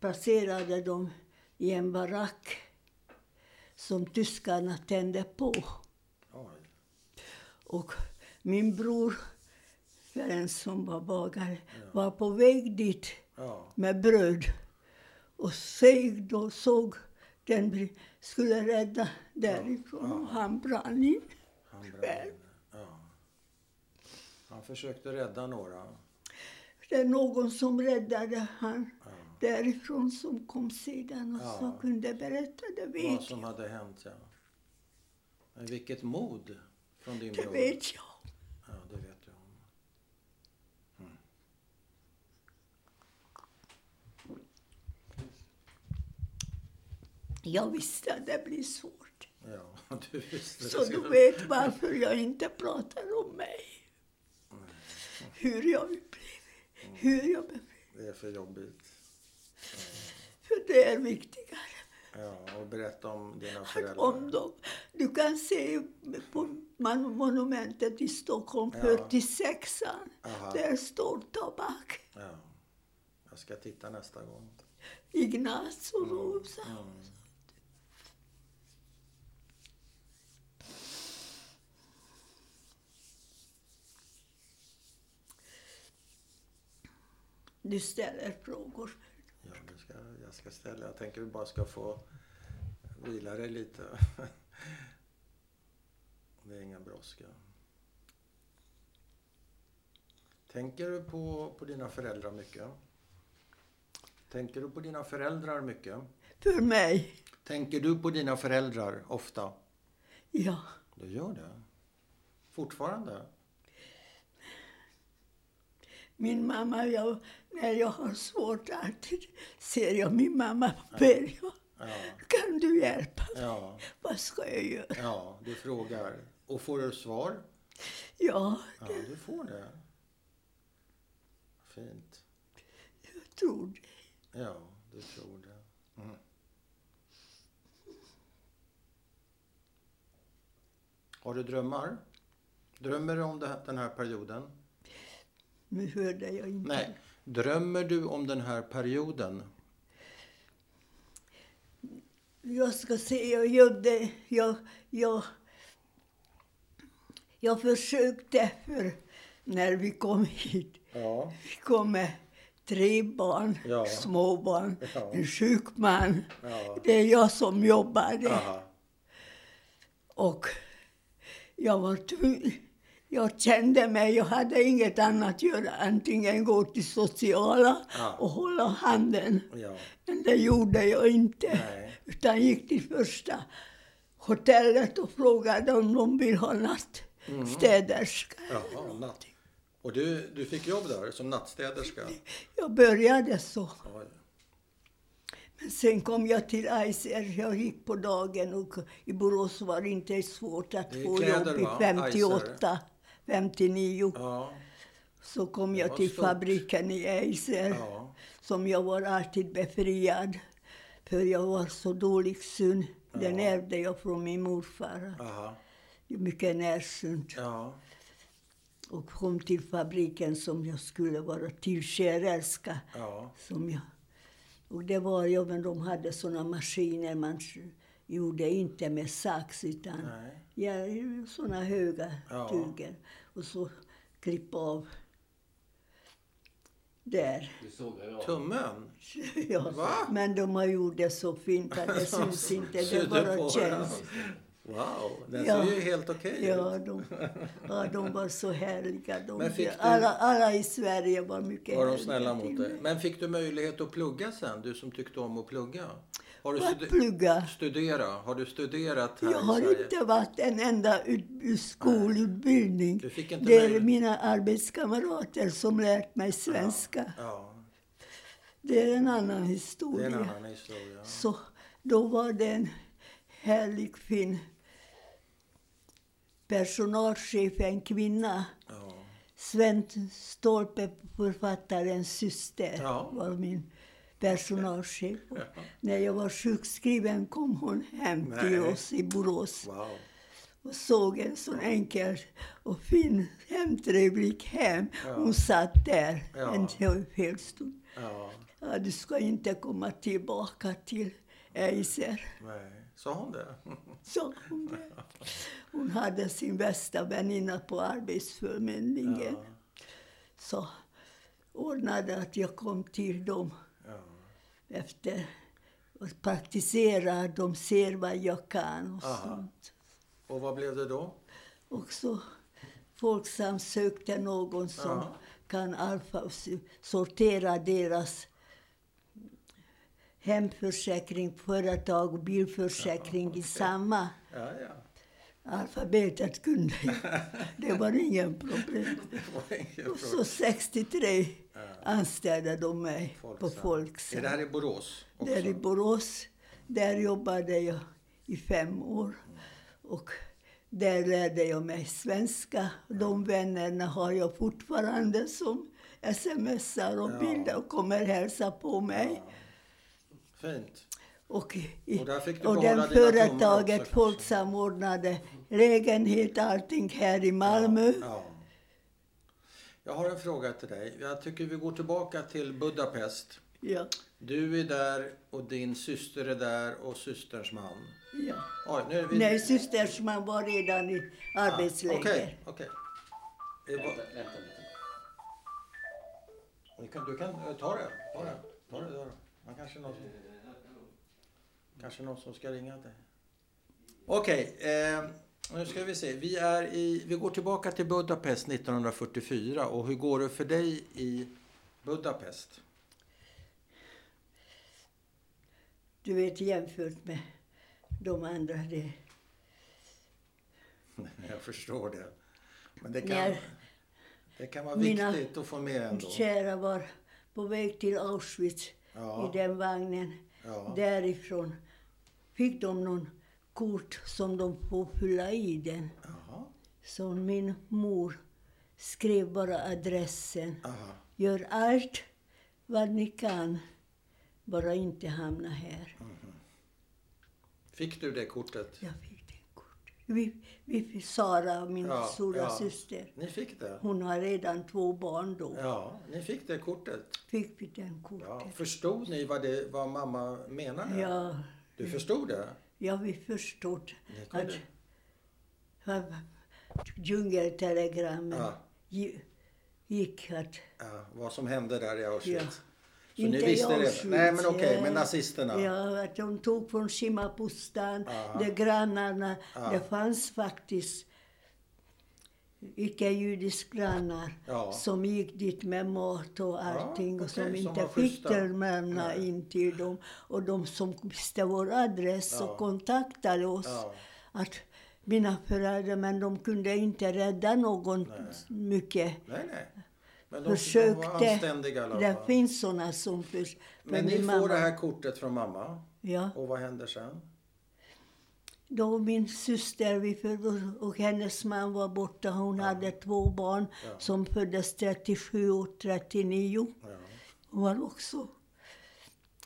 Speaker 1: placerade de i en barack som tyskarna tände på.
Speaker 2: Oj.
Speaker 1: Och min bror, Ferenc som var bagare, var på väg dit
Speaker 2: Ja.
Speaker 1: med bröd. Och såg då såg den br- skulle rädda därifrån och han brann in.
Speaker 2: Han brann inne. Ja. Han försökte rädda några.
Speaker 1: Det är någon som räddade han
Speaker 2: Ja.
Speaker 1: därifrån som kom sedan och
Speaker 2: Ja.
Speaker 1: som kunde berätta det
Speaker 2: Vad
Speaker 1: vet,
Speaker 2: som hade hänt, ja. Men vilket mod från din
Speaker 1: det
Speaker 2: bror.
Speaker 1: vet jag.
Speaker 2: Ja, det vet jag om.
Speaker 1: Jag visste att det blir svårt.
Speaker 2: Ja, [LAUGHS] du visste
Speaker 1: Så du vet varför jag inte pratar om mig.
Speaker 2: Mm.
Speaker 1: Hur jag upplever, hur jag be-
Speaker 2: Det är för jobbigt.
Speaker 1: För det är viktigare.
Speaker 2: Ja, och berätta om dina
Speaker 1: att
Speaker 2: föräldrar.
Speaker 1: om dem. Du kan se på man- monumentet i Stockholm,
Speaker 2: Ja.
Speaker 1: 46
Speaker 2: Aha.
Speaker 1: Där står tobak.
Speaker 2: Ja. Jag ska titta nästa gång.
Speaker 1: Ignaz och Rosa.
Speaker 2: Mm.
Speaker 1: Du ställer frågor.
Speaker 2: Ja, det ska, jag ska ställa. Jag tänker vi bara ska få vila dig lite. [LAUGHS] Det är ingen brådska. Tänker du på, på dina föräldrar mycket? Tänker du på dina föräldrar mycket?
Speaker 1: För mig,
Speaker 2: Tänker du på dina föräldrar ofta?
Speaker 1: ja.
Speaker 2: Du gör det? Fortfarande?
Speaker 1: Min mamma, jag, när jag har svårt alltid ser jag min mamma och ber jag.
Speaker 2: Ja.
Speaker 1: Kan du hjälpa mig?
Speaker 2: Ja,
Speaker 1: Vad ska jag göra?
Speaker 2: ja du frågar. Och får du svar?
Speaker 1: Ja,
Speaker 2: Ja, du får det. Fint.
Speaker 1: jag tror det.
Speaker 2: Ja, du tror det. Mm. Har du drömmar? Drömmer du om det här- den här perioden?
Speaker 1: Nu hörde jag inte.
Speaker 2: Nej. Drömmer du om den här perioden?
Speaker 1: Jag ska se, jag gjorde, jag, jag, jag försökte för när vi kom hit.
Speaker 2: Ja.
Speaker 1: Vi kom med tre barn,
Speaker 2: Ja.
Speaker 1: småbarn,
Speaker 2: Ja.
Speaker 1: en sjuk man.
Speaker 2: Ja.
Speaker 1: Det är jag som jobbade.
Speaker 2: Aha.
Speaker 1: Och jag var tvungen. Jag kände mig, jag hade inget annat att göra. Antingen gå till sociala
Speaker 2: Ja.
Speaker 1: och hålla handen.
Speaker 2: Ja.
Speaker 1: Men det gjorde jag inte.
Speaker 2: Nej.
Speaker 1: Utan gick till första hotellet och frågade om de vill ha nattstäderska.
Speaker 2: Jaha, natt. Och du, du fick jobb där som nattstäderska?
Speaker 1: Jag började så.
Speaker 2: Oj.
Speaker 1: Men sen kom jag till ICR. Jag gick på dagen och i Borås var det inte svårt att
Speaker 2: Det är
Speaker 1: få
Speaker 2: kläder,
Speaker 1: jobb i
Speaker 2: va?
Speaker 1: 58, 59.
Speaker 2: Ja.
Speaker 1: Så kom
Speaker 2: Det
Speaker 1: jag
Speaker 2: var
Speaker 1: till
Speaker 2: stort.
Speaker 1: fabriken i Eiser.
Speaker 2: Ja.
Speaker 1: Som jag var alltid befriad. För jag var så dålig syn. Den ärvde jag från min morfar.
Speaker 2: Aha.
Speaker 1: Mycket närsynt.
Speaker 2: Ja.
Speaker 1: Och kom till fabriken som jag skulle vara tillskärerska.
Speaker 2: Ja.
Speaker 1: Som jag. Och det var jag, men de hade såna maskiner man s- gjorde inte med sax utan
Speaker 2: Nej.
Speaker 1: ja, såna höga
Speaker 2: Ja.
Speaker 1: tyger. Och så klippa av. Där. [LAUGHS]
Speaker 3: Du sågar av.
Speaker 2: Tummen?
Speaker 1: Ja.
Speaker 2: Va?
Speaker 1: Men de har gjort det så fint att
Speaker 2: [LAUGHS]
Speaker 1: det syns inte. Det
Speaker 2: Sydde på
Speaker 1: bara
Speaker 2: den.
Speaker 1: känns.
Speaker 2: Wow, den
Speaker 1: Ja.
Speaker 2: ser ju helt okej ut.
Speaker 1: Ja de, ja, de var så härliga. De,
Speaker 2: Men fick du-
Speaker 1: alla, alla i Sverige var mycket
Speaker 2: Var de
Speaker 1: härliga
Speaker 2: snälla
Speaker 1: till
Speaker 2: mot
Speaker 1: mig.
Speaker 2: dig? Men fick du möjlighet att plugga sen, du som tyckte om att plugga? Har du
Speaker 1: Vad
Speaker 2: stude-
Speaker 1: plugga?
Speaker 2: studera? Har du studerat här
Speaker 1: Jag
Speaker 2: i
Speaker 1: har
Speaker 2: Sverige?
Speaker 1: inte varit en enda ut, ut- skolutbildning.
Speaker 2: Du fick inte
Speaker 1: det är
Speaker 2: möjlighet.
Speaker 1: mina arbetskamrater som lärt mig svenska.
Speaker 2: Ja,
Speaker 1: Det är en annan
Speaker 2: det är
Speaker 1: historia.
Speaker 2: en annan historia.
Speaker 1: Så då var det en härlig fin personalchef, en kvinna.
Speaker 2: Ja.
Speaker 1: Sven Stolpe, författarens syster,
Speaker 2: Ja.
Speaker 1: var min personalchef. Och När jag var sjukskriven kom hon hem till
Speaker 2: Nej.
Speaker 1: oss i Borås
Speaker 2: Wow.
Speaker 1: och såg en sån enkel och fin hemtrevlig hem. Hon satt där
Speaker 2: Ja.
Speaker 1: en hel- hel stund.
Speaker 2: Ja,
Speaker 1: Ja, du ska inte komma tillbaka till Eiser,
Speaker 2: nej. Sa hon det? [LAUGHS]
Speaker 1: sa hon. det. Hon hade sin bästa väninna på arbetsförmedlingen. Så ordnade att jag kom till dem
Speaker 2: Ja.
Speaker 1: efter och praktiserade. De ser vad jag kan och
Speaker 2: Aha.
Speaker 1: sånt.
Speaker 2: Och vad blev det då?
Speaker 1: Och så Folksam sökte någon som
Speaker 2: Ja.
Speaker 1: kan alfa sortera deras hemförsäkring, företag och bilförsäkring i samma
Speaker 2: Ja, ja.
Speaker 1: alfabetet kunde
Speaker 2: [LAUGHS]
Speaker 1: jag. Det var ingen problem.
Speaker 2: Det var ingen
Speaker 1: Och så
Speaker 2: fråga.
Speaker 1: 63 anställde de mig på
Speaker 2: Folksam. Är
Speaker 1: Folksam.
Speaker 2: det här i Borås också?
Speaker 1: Där i Borås, där jobbade jag i fem år. Och där lärde jag mig svenska. De vännerna har jag fortfarande som smsar och
Speaker 2: Ja.
Speaker 1: bilder och kommer hälsa på mig.
Speaker 2: Fint.
Speaker 1: Och, i,
Speaker 2: Och där fick du
Speaker 1: och
Speaker 2: behålla
Speaker 1: den
Speaker 2: dina tummar också,
Speaker 1: företaget
Speaker 2: kanske?
Speaker 1: Folksam ordnade lägenhet, allting här i Malmö.
Speaker 2: Ja. Jag har en fråga till dig. Jag tycker vi går tillbaka till Budapest.
Speaker 1: Ja,
Speaker 2: Du är där och din syster är där och systerns man.
Speaker 1: ja.
Speaker 2: Oj, nu är vi... Ah,
Speaker 1: Nej, systersman var redan i arbetsläger.
Speaker 2: Okej, okej. Det var-
Speaker 3: Vänta, vänta lite.
Speaker 2: Du kan, du kan eh, ta det. Ta det. Ta det där. Man kanske någon som, kanske någon som ska ringa dig. Okej, eh, nu ska vi se. Vi, är i, vi går tillbaka till Budapest 1944. Och hur går det för dig i Budapest? [LAUGHS]
Speaker 1: Du vet, jämfört med de andra. Det,
Speaker 2: Jag förstår det. Men det kan,
Speaker 1: När
Speaker 2: det kan vara
Speaker 1: mina-
Speaker 2: viktigt att få med
Speaker 1: Min
Speaker 2: ändå.
Speaker 1: kära var på väg till Auschwitz
Speaker 2: Ja.
Speaker 1: i den vagnen.
Speaker 2: Ja.
Speaker 1: Därifrån fick de någon kort som de får fylla i den.
Speaker 2: Jaha.
Speaker 1: Så min mor skrev bara adressen.
Speaker 2: Aha.
Speaker 1: Gör allt vad ni kan, bara inte hamna här.
Speaker 2: Fick du det kortet?
Speaker 1: Jag fick det kortet. Vi, vi, Sara, min
Speaker 2: Ja,
Speaker 1: stora
Speaker 2: ja.
Speaker 1: syster,
Speaker 2: Ni fick det?
Speaker 1: hon har redan två barn då.
Speaker 2: Ja, ni fick det kortet.
Speaker 1: Fick vi den kortet.
Speaker 2: Ja, förstod ni vad, det, vad mamma menade?
Speaker 1: Ja, Mm.
Speaker 2: Du förstod det?
Speaker 1: Ja, vi förstod
Speaker 2: Ni kunde.
Speaker 1: att att djungeltelegrammen
Speaker 2: Ja.
Speaker 1: gi- gick att...
Speaker 2: Ja, vad som hände där i Auschwitz.
Speaker 1: Ja.
Speaker 2: Så ni visste
Speaker 1: jag,
Speaker 2: det?
Speaker 1: Schweiz,
Speaker 2: Nej, men okej,
Speaker 1: ja.
Speaker 2: men nazisterna.
Speaker 1: Ja, att de tog från Simapustan,
Speaker 2: Aha.
Speaker 1: de grannarna.
Speaker 2: Ja.
Speaker 1: Det fanns faktiskt icke-judiska grannar
Speaker 2: Ja.
Speaker 1: som gick dit med mat och allting och som
Speaker 2: okej, som
Speaker 1: inte
Speaker 2: var
Speaker 1: fick
Speaker 2: schyssta.
Speaker 1: termerna
Speaker 2: Nej.
Speaker 1: in till dem. Och de som visste vår adress
Speaker 2: Ja.
Speaker 1: och kontaktade oss.
Speaker 2: Ja.
Speaker 1: Att mina föräldrar, men de kunde inte rädda någon mycket
Speaker 2: Nej, nej. Men de, de var
Speaker 1: försökte.
Speaker 2: anständiga i alla
Speaker 1: det
Speaker 2: fall.
Speaker 1: finns såna som förs...
Speaker 2: Men ni
Speaker 1: min mamma-
Speaker 2: får det här kortet från mamma.
Speaker 1: Ja.
Speaker 2: Och vad händer sen?
Speaker 1: Då min syster vi födde, och hennes man var borta. Hon hade två barn
Speaker 2: Ja.
Speaker 1: som föddes 37 och 39.
Speaker 2: Ja.
Speaker 1: Hon var också...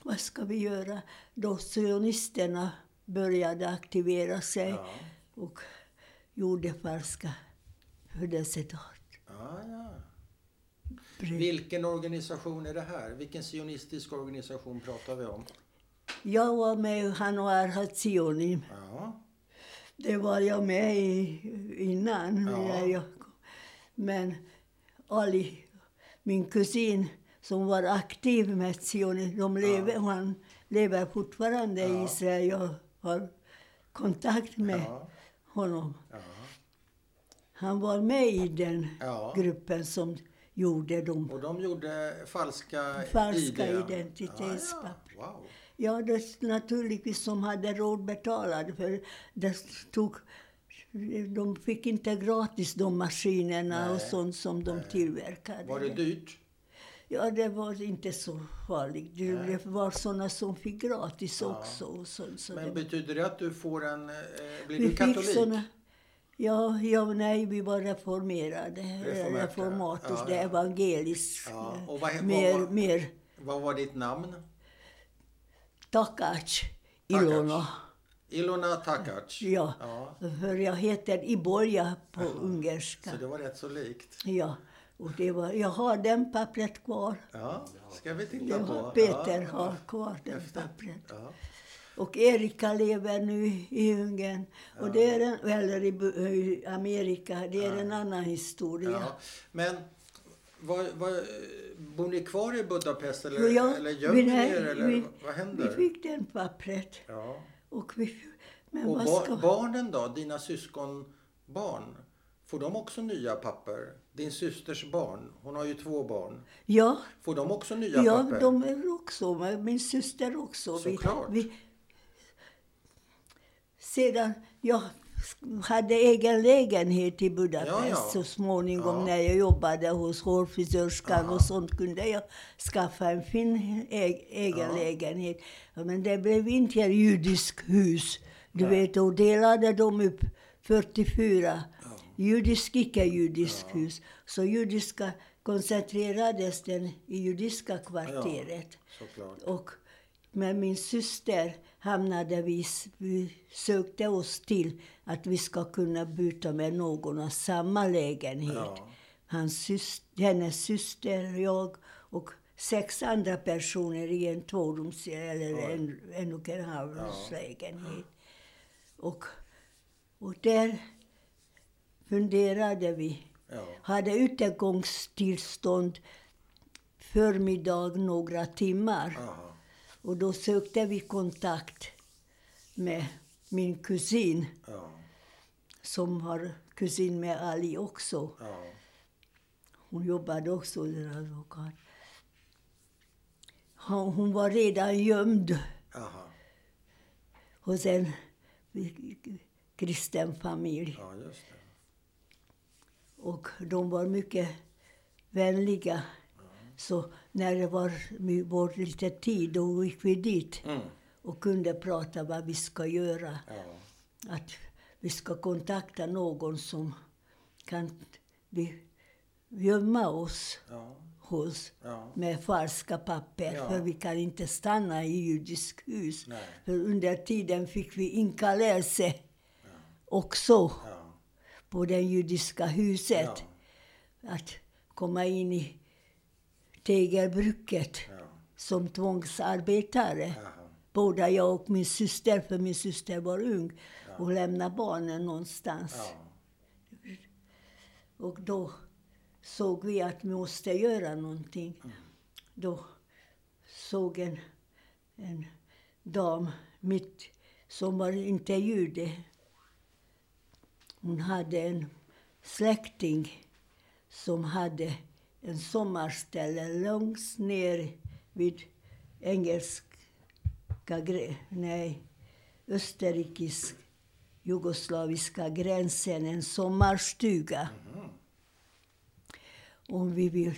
Speaker 1: Vad ska vi göra? Då sionisterna började aktivera sig
Speaker 2: Ja.
Speaker 1: och gjorde falska födelsedat.
Speaker 2: Ja, Ah, ja.
Speaker 1: Brev.
Speaker 2: Vilken organisation är det här? Vilken sionistisk organisation pratar vi om?
Speaker 1: Jag var med i Hanoar Hatzioni.
Speaker 2: Ja,
Speaker 1: Det var jag med i innan.
Speaker 2: Ja.
Speaker 1: När jag kom. Men Ali, min kusin, som var aktiv med Zion, de lever, han lever fortfarande
Speaker 2: Ja.
Speaker 1: i Israel. Jag har kontakt med
Speaker 2: Ja.
Speaker 1: honom.
Speaker 2: ja,
Speaker 1: Han var med i den
Speaker 2: ja.
Speaker 1: gruppen som gjorde dem.
Speaker 2: Och de gjorde falska,
Speaker 1: Falska
Speaker 2: ID.
Speaker 1: identitetspapper.
Speaker 2: Ja, ja. Wow.
Speaker 1: Ja, det naturligtvis som hade råd betalade för det tog... De fick inte gratis de maskinerna
Speaker 2: Nej.
Speaker 1: och sånt som de tillverkade.
Speaker 2: Var det dyrt?
Speaker 1: Ja, det var inte så farligt. Det
Speaker 2: Nej.
Speaker 1: det var såna som fick gratis
Speaker 2: Ja.
Speaker 1: också. Och sånt, så
Speaker 2: Men
Speaker 1: det-
Speaker 2: betyder det att du får en... Eh, blir
Speaker 1: vi
Speaker 2: du katolik?
Speaker 1: fick såna... Ja, ja, nej, vi var reformerade.
Speaker 2: Reformerade,
Speaker 1: Reformatus,
Speaker 2: ja,
Speaker 1: det
Speaker 2: ja.
Speaker 1: evangelisk.
Speaker 2: Ja, och vad- vad
Speaker 1: mer,
Speaker 2: var-
Speaker 1: mer
Speaker 2: Vad var ditt namn?
Speaker 1: takac, Ilona.
Speaker 2: Ilona Takac.
Speaker 1: Ja.
Speaker 2: ja.
Speaker 1: För jag heter Iborja på ungerska.
Speaker 2: Så det var rätt så likt.
Speaker 1: Ja, och det var, jag har den pappret kvar.
Speaker 2: Ja, ska vi
Speaker 1: Det
Speaker 2: titta på?
Speaker 1: har, Peter
Speaker 2: ja.
Speaker 1: har kvar den pappret.
Speaker 2: Ja.
Speaker 1: Och Erika lever nu i Ungern, och det är en, eller i, Bu- i Amerika. Det är en annan historia.
Speaker 2: Ja. Men var, var, bor ni kvar i Budapest eller,
Speaker 1: Och jag-
Speaker 2: eller
Speaker 1: vi-
Speaker 2: gömmer ni
Speaker 1: nej,
Speaker 2: er? Eller
Speaker 1: vi-
Speaker 2: vad händer?
Speaker 1: Vi fick den pappret.
Speaker 2: ja.
Speaker 1: Och vi, men
Speaker 2: Och
Speaker 1: vad
Speaker 2: bar,
Speaker 1: ska...
Speaker 2: barnen då? Dina syskonbarn? Får de också nya papper? Din systers barn? Hon har ju två barn.
Speaker 1: ja,
Speaker 2: Får de också nya
Speaker 1: ja,
Speaker 2: papper?
Speaker 1: de är också med. Min syster också.
Speaker 2: Såklart.
Speaker 1: sedan jag hade egen lägenhet i Budapest
Speaker 2: Ja, ja.
Speaker 1: så småningom
Speaker 2: Ja.
Speaker 1: när jag jobbade hos hårfrisörskan
Speaker 2: Aha.
Speaker 1: och sånt kunde jag skaffa en fin e- egen
Speaker 2: Ja.
Speaker 1: lägenhet. Ja, Men det blev inte ett judiskt hus. Du vet, och delade de upp 44. Judisk, icke-judisk hus. Så judiska koncentrerades den i judiska kvarteret.
Speaker 2: Såklart.
Speaker 1: Och med min syster hamnade vi, vi sökte oss till att vi ska kunna byta med någon av samma lägenhet.
Speaker 2: Ja.
Speaker 1: Hans syster, hennes syster, jag och sex andra personer i en tvårums eller en, en och en halv
Speaker 2: Ja.
Speaker 1: lägenhet. Och, och där funderade vi.
Speaker 2: Ja.
Speaker 1: Hade utegångstillstånd förmiddag några timmar.
Speaker 2: Aha.
Speaker 1: Och då sökte vi kontakt med min kusin,
Speaker 2: Ja.
Speaker 1: som har kusin med Ali också.
Speaker 2: Ja.
Speaker 1: Hon jobbade också som advokat. Hon hon var redan gömd
Speaker 2: Aha.
Speaker 1: hos en kristen familj.
Speaker 2: Ja, just det.
Speaker 1: Och de var mycket vänliga. Så när det var my- vår lite tid, då gick vi dit
Speaker 2: Mm.
Speaker 1: och kunde prata vad vi ska göra.
Speaker 2: Ja.
Speaker 1: att vi ska kontakta någon som kan vi gömma oss
Speaker 2: Ja.
Speaker 1: hos
Speaker 2: Ja.
Speaker 1: med falska papper,
Speaker 2: Ja.
Speaker 1: för vi kan inte stanna i judisk hus.
Speaker 2: Nej.
Speaker 1: För under tiden fick vi inkallelse också
Speaker 2: Ja.
Speaker 1: på det judiska huset.
Speaker 2: Ja.
Speaker 1: Att komma in i tegelbruket
Speaker 2: Ja.
Speaker 1: som tvångsarbetare
Speaker 2: Aha.
Speaker 1: på Både jag och min syster, för min syster var ung och lämnade barnen någonstans.
Speaker 2: Ja.
Speaker 1: Och då såg vi att vi måste göra någonting. Då såg en, en dam mitt som var inte jude. Hon hade en släkting som hade en sommarställe långt ner vid engelska, grä- nej, österrikisk, jugoslaviska gränsen, en sommarstuga om vi vill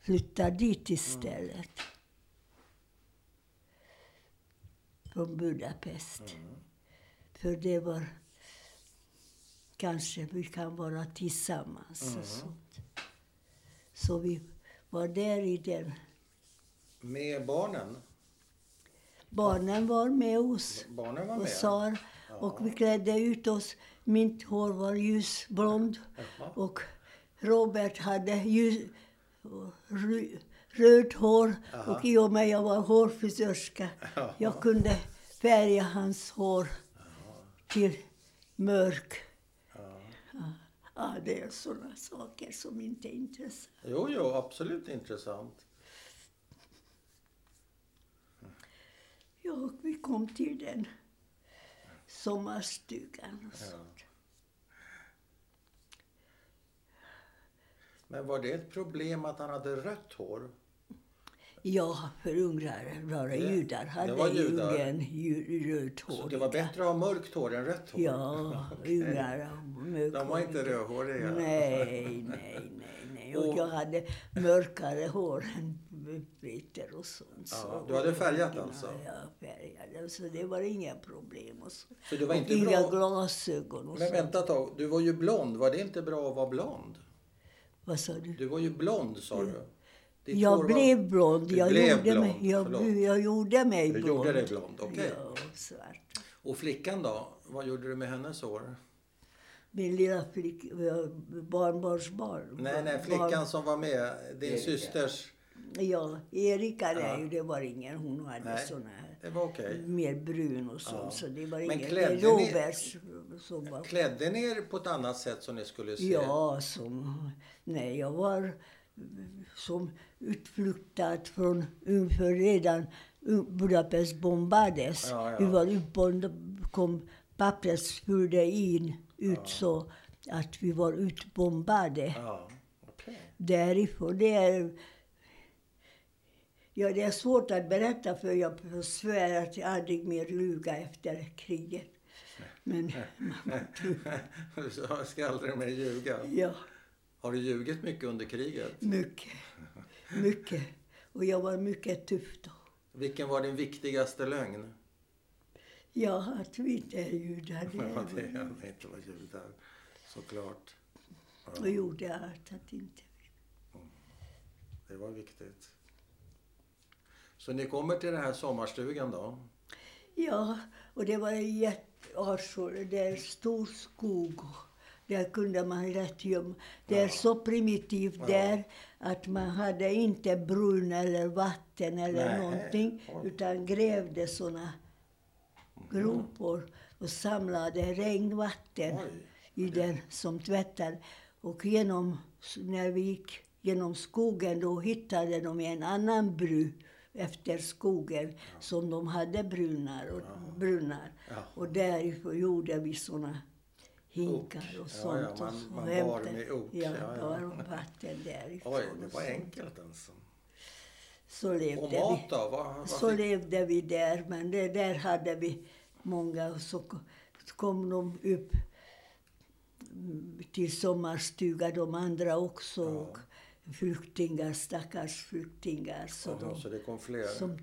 Speaker 1: flytta dit istället. Från Budapest. För det var... Kanske vi kan vara tillsammans och sånt. Så vi var där i den.
Speaker 2: Med barnen?
Speaker 1: Barnen var med oss.
Speaker 2: Barnen var
Speaker 1: och
Speaker 2: med?
Speaker 1: Sar. Och vi klädde ut oss. Mitt hår var ljusblond.
Speaker 2: Jaha.
Speaker 1: Och Robert hade ljus, rö- röd hår. Och i och med jag var hårfrisörska,
Speaker 2: Jaha.
Speaker 1: jag kunde färga hans hår till mörk. Ja, det är sådana saker som inte är intressant.
Speaker 2: Jo, jo, absolut intressant.
Speaker 1: Ja, och vi kom till den sommarstugan och sånt.
Speaker 2: Men var det ett problem att han hade rött hår?
Speaker 1: Ja, för ungrare, bara
Speaker 2: Det-
Speaker 1: judar hade
Speaker 2: var
Speaker 1: ju
Speaker 2: judar.
Speaker 1: ungen ju-
Speaker 2: Så
Speaker 1: rödhåriga.
Speaker 2: det var bättre att ha mörkt hår än rött hår?
Speaker 1: Ja, ungrare.
Speaker 2: De var inte rödhåriga?
Speaker 1: Nej, nej, nej. nej. Och
Speaker 2: Och-
Speaker 1: jag hade mörkare hår än britter och sånt.
Speaker 2: Ja,
Speaker 1: så-
Speaker 2: du hade färgat alltså?
Speaker 1: Ja, jag färgade. Så det var inga problem. Och så.
Speaker 2: Så det var
Speaker 1: och
Speaker 2: inte
Speaker 1: inga
Speaker 2: bra-
Speaker 1: glasögon och
Speaker 2: Men
Speaker 1: så.
Speaker 2: vänta ett tag, du var ju blond. Var det inte bra att vara blond?
Speaker 1: Vad sa du?
Speaker 2: Du var ju blond, sa du. Ditt hår
Speaker 1: Mm. Jag
Speaker 2: var-
Speaker 1: blev blond.
Speaker 2: Du
Speaker 1: Jag,
Speaker 2: blev
Speaker 1: gjorde
Speaker 2: blond,
Speaker 1: mig, jag,
Speaker 2: förlåt.
Speaker 1: jag gjorde mig
Speaker 2: Du
Speaker 1: blond.
Speaker 2: gjorde dig blond, okej.
Speaker 1: Ja, svart.
Speaker 2: Och flickan då? Vad gjorde du med hennes hår?
Speaker 1: Min lilla flicka, barnbarnsbarn.
Speaker 2: Nej, nej,
Speaker 1: Barn-
Speaker 2: flickan som var med, din
Speaker 3: Erika.
Speaker 2: systers...
Speaker 1: Ja, Erika,
Speaker 2: Ja.
Speaker 1: nej, det var ingen. Hon hade
Speaker 2: Nej,
Speaker 1: såna här.
Speaker 2: det var okej.
Speaker 1: Mer brun och sånt,
Speaker 2: Ja.
Speaker 1: så det var
Speaker 2: Men
Speaker 1: inget. Det
Speaker 2: klädde
Speaker 1: är
Speaker 2: ni-
Speaker 1: Roberts som var...
Speaker 2: Klädde ni er på ett annat sätt som ni skulle se?
Speaker 1: Ja, som... Nej, jag var mm, som utflyktad från ungefär redan un- Budapest bombades.
Speaker 2: Ja, ja.
Speaker 1: Vi var utbombade, kom pappret spurde in ut så att vi var utbombade.
Speaker 2: Ja, okej. [LAUGHS]
Speaker 1: därifrån. Det är, ja, det är svårt att berätta för jag svär att jag aldrig mer ljuga efter kriget. Men
Speaker 2: Så jag ska aldrig mer ljuga.
Speaker 1: ja,
Speaker 2: Har du ljugit mycket under kriget?
Speaker 1: mycket. Mycket. Och jag var mycket tuff då.
Speaker 2: Vilken var din viktigaste lögn?
Speaker 1: Ja, att vi inte är judar.
Speaker 2: [LAUGHS]
Speaker 1: det
Speaker 2: Ja, det
Speaker 1: är-
Speaker 2: är att inte var judar, såklart.
Speaker 1: Och gjorde allt att inte...
Speaker 2: Det var viktigt. Så ni kommer till den här sommarstugan då?
Speaker 1: Ja, och det var en jätteartsor. Det är stor skog. Där kunde man lätt gömma. Det är så primitivt där att man hade inte brunn eller vatten eller
Speaker 2: Nej.
Speaker 1: någonting
Speaker 2: Oj. Mm.
Speaker 1: utan grävde såna gropor och samlade regnvatten
Speaker 2: Oj.
Speaker 1: i den som tvättade. Och genom, när vi gick genom skogen då hittade de en annan bru efter skogen som de hade brunnar. Och, brunnar.
Speaker 2: Ja.
Speaker 1: och därifrån gjorde vi såna hinkar och
Speaker 2: Ok. Ja,
Speaker 1: sånt.
Speaker 2: ja, man-
Speaker 1: och så
Speaker 2: man bar
Speaker 1: hämtade-
Speaker 2: med ok,
Speaker 1: Ja,
Speaker 2: ja, ja.
Speaker 1: bar och vatten därifrån.
Speaker 2: Oj, det
Speaker 1: och
Speaker 2: var
Speaker 1: så.
Speaker 2: enkelt alltså.
Speaker 1: Så levde
Speaker 2: Och
Speaker 1: vi.
Speaker 2: mat då? Vad, vad
Speaker 1: Så
Speaker 2: fick...
Speaker 1: levde vi där, men det där hade vi många. Och så ko- så kom de upp mm, till sommarstuga, de andra också. Och flyktingar, stackars flyktingar. Så
Speaker 2: Jaha,
Speaker 1: de,
Speaker 2: så det kom fler?
Speaker 1: som,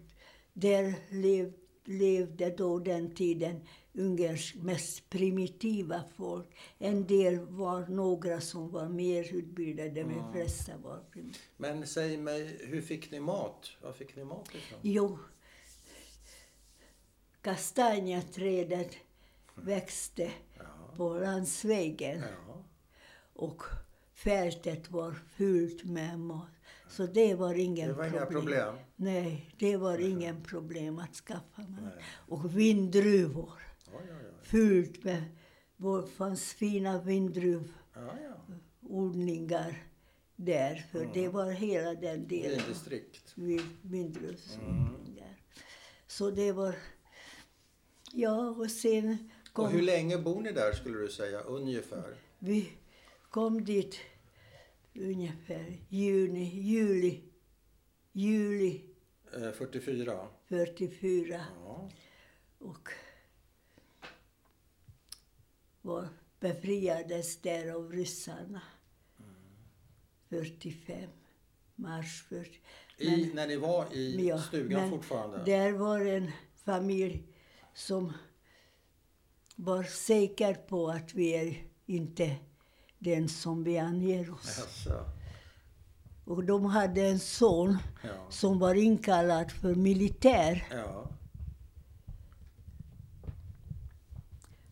Speaker 1: där lev, levde då den tiden Ungerns mest primitiva folk. En del var några som var mer utbildade, men de flesta var primitiva.
Speaker 2: Men säg mig, hur fick ni mat? Var fick ni mat ifrån?
Speaker 1: Jo, kastanjeträdet växte på landsvägen
Speaker 2: Ja.
Speaker 1: och fältet var fyllt med mat. Så det var ingen
Speaker 2: Det var inga problem.
Speaker 1: Nej, det var ingen problem att skaffa mat.
Speaker 2: Nej.
Speaker 1: Och vindruvor.
Speaker 2: Ja, ja, ja.
Speaker 1: Fyllt med, det fanns fina vindruvordningar
Speaker 2: ja, ja.
Speaker 1: där. För det
Speaker 2: Mm.
Speaker 1: var hela den delen.
Speaker 2: Vindistrikt.
Speaker 1: vid vindruvsodling där. Så det var... Ja, och sen kom
Speaker 2: Och hur länge bor ni där skulle du säga, ungefär?
Speaker 1: vi kom dit ungefär juni, juli, juli
Speaker 2: Eh, 44?
Speaker 1: 44
Speaker 2: Ja.
Speaker 1: och var befriades där av ryssarna
Speaker 2: Mm.
Speaker 1: 45, mars 40. Men-
Speaker 2: I, när ni var i
Speaker 1: Men ja,
Speaker 2: stugan
Speaker 1: men
Speaker 2: fortfarande?
Speaker 1: Där var en familj som var säker på att vi är inte den som vi anger oss.
Speaker 2: Jaså.
Speaker 1: Och de hade en son
Speaker 2: Ja.
Speaker 1: som var inkallad för militär.
Speaker 2: ja.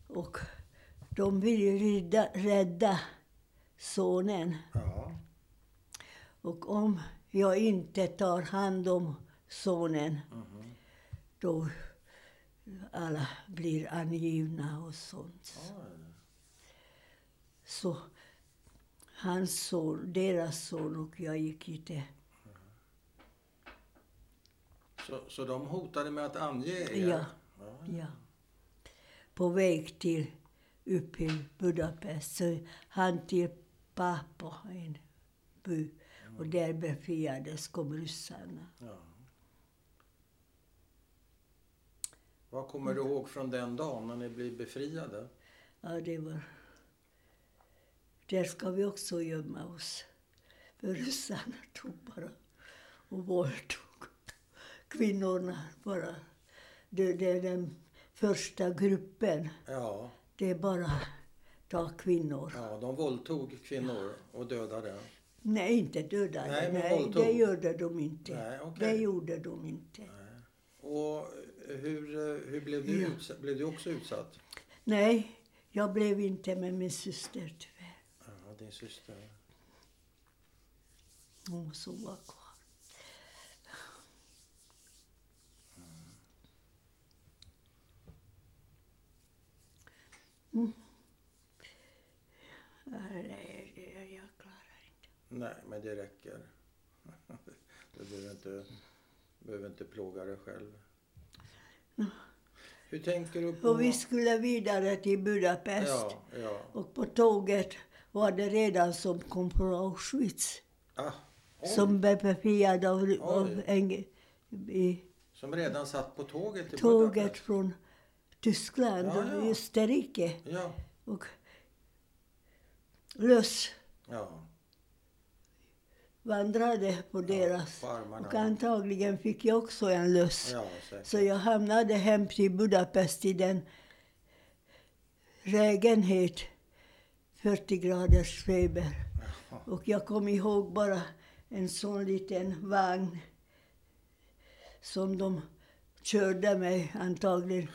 Speaker 1: Och de ville rädda, rädda sonen.
Speaker 2: Ja.
Speaker 1: Och om jag inte tar hand om sonen, då alla blir angivna och sånt.
Speaker 2: Oj.
Speaker 1: Så hans son, deras son och jag gick inte.
Speaker 2: Så, så de hotade med att ange er?
Speaker 1: Ja.
Speaker 2: Ja.
Speaker 1: Ja. På väg till, upp till Budapest. Så han till Papo, en by. Och där befriades, kom ryssarna.
Speaker 2: Ja. Vad kommer du ihåg från den dagen när ni blev befriade?
Speaker 1: Ja, det var... Där ska vi också gömma oss. För ryssarna tog bara och våldtog kvinnorna bara. Det, det är den första gruppen.
Speaker 2: Ja,
Speaker 1: Det är bara ta kvinnor.
Speaker 2: ja de våldtog kvinnor och dödade.
Speaker 1: Nej, inte döda. Nej,
Speaker 2: Nej, men våldtog.
Speaker 1: det gjorde de inte.
Speaker 2: Nej, okej.
Speaker 1: Det gjorde de inte.
Speaker 2: Och hur, eh, hur blev, du
Speaker 1: Ja.
Speaker 2: utsatt? blev du också utsatt?
Speaker 1: Nej, jag blev inte med min syster tyvärr.
Speaker 2: Ja, din syster.
Speaker 1: Hon som var kvar. Mm. Ja, Nej, det- jag klarar inte.
Speaker 2: Nej, men det räcker. [LAUGHS] Du behöver inte, behöver inte plåga dig själv. Hur tänker du på...
Speaker 1: Och vi skulle vidare till Budapest.
Speaker 2: Ja, ja.
Speaker 1: Och på tåget var det redan som kom från Auschwitz.
Speaker 2: Ah, oj,
Speaker 1: Som blev befriad av, av
Speaker 2: Oj.
Speaker 1: en, i
Speaker 2: som redan satt på tåget till
Speaker 1: tåget
Speaker 2: Budapest.
Speaker 1: från Tyskland
Speaker 2: Ja, ja.
Speaker 1: och Österrike.
Speaker 2: Ja,
Speaker 1: Och löss
Speaker 2: ja.
Speaker 1: vandrade på deras.
Speaker 2: på armarna.
Speaker 1: och antagligen fick jag också en löss.
Speaker 2: Ja, säkert.
Speaker 1: Så jag hamnade hem till Budapest i den lägenhet, 40 graders feber. Och jag kom ihåg bara en sån liten vagn som de körde mig antagligen.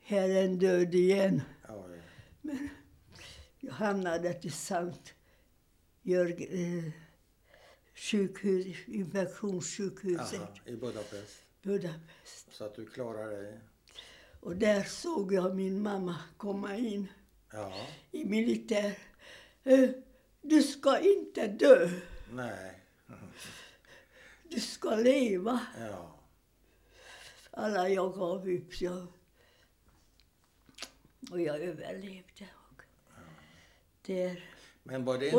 Speaker 1: Här är en död igen.
Speaker 2: Ja, ja.
Speaker 1: Jag hamnade till Sankt Jörg, eh, sjukhus, infektionssjukhuset,
Speaker 2: Aha, I Budapest.
Speaker 1: Budapest.
Speaker 2: Så att du klarar dig.
Speaker 1: Och där såg jag min mamma komma in
Speaker 2: Ja.
Speaker 1: i militär. Eh, Du ska inte dö,
Speaker 2: Nej.
Speaker 1: du ska leva.
Speaker 2: Ja.
Speaker 1: Alla jag gav upp. så Jag... Och jag överlevde. Och... Där,
Speaker 2: Men var det...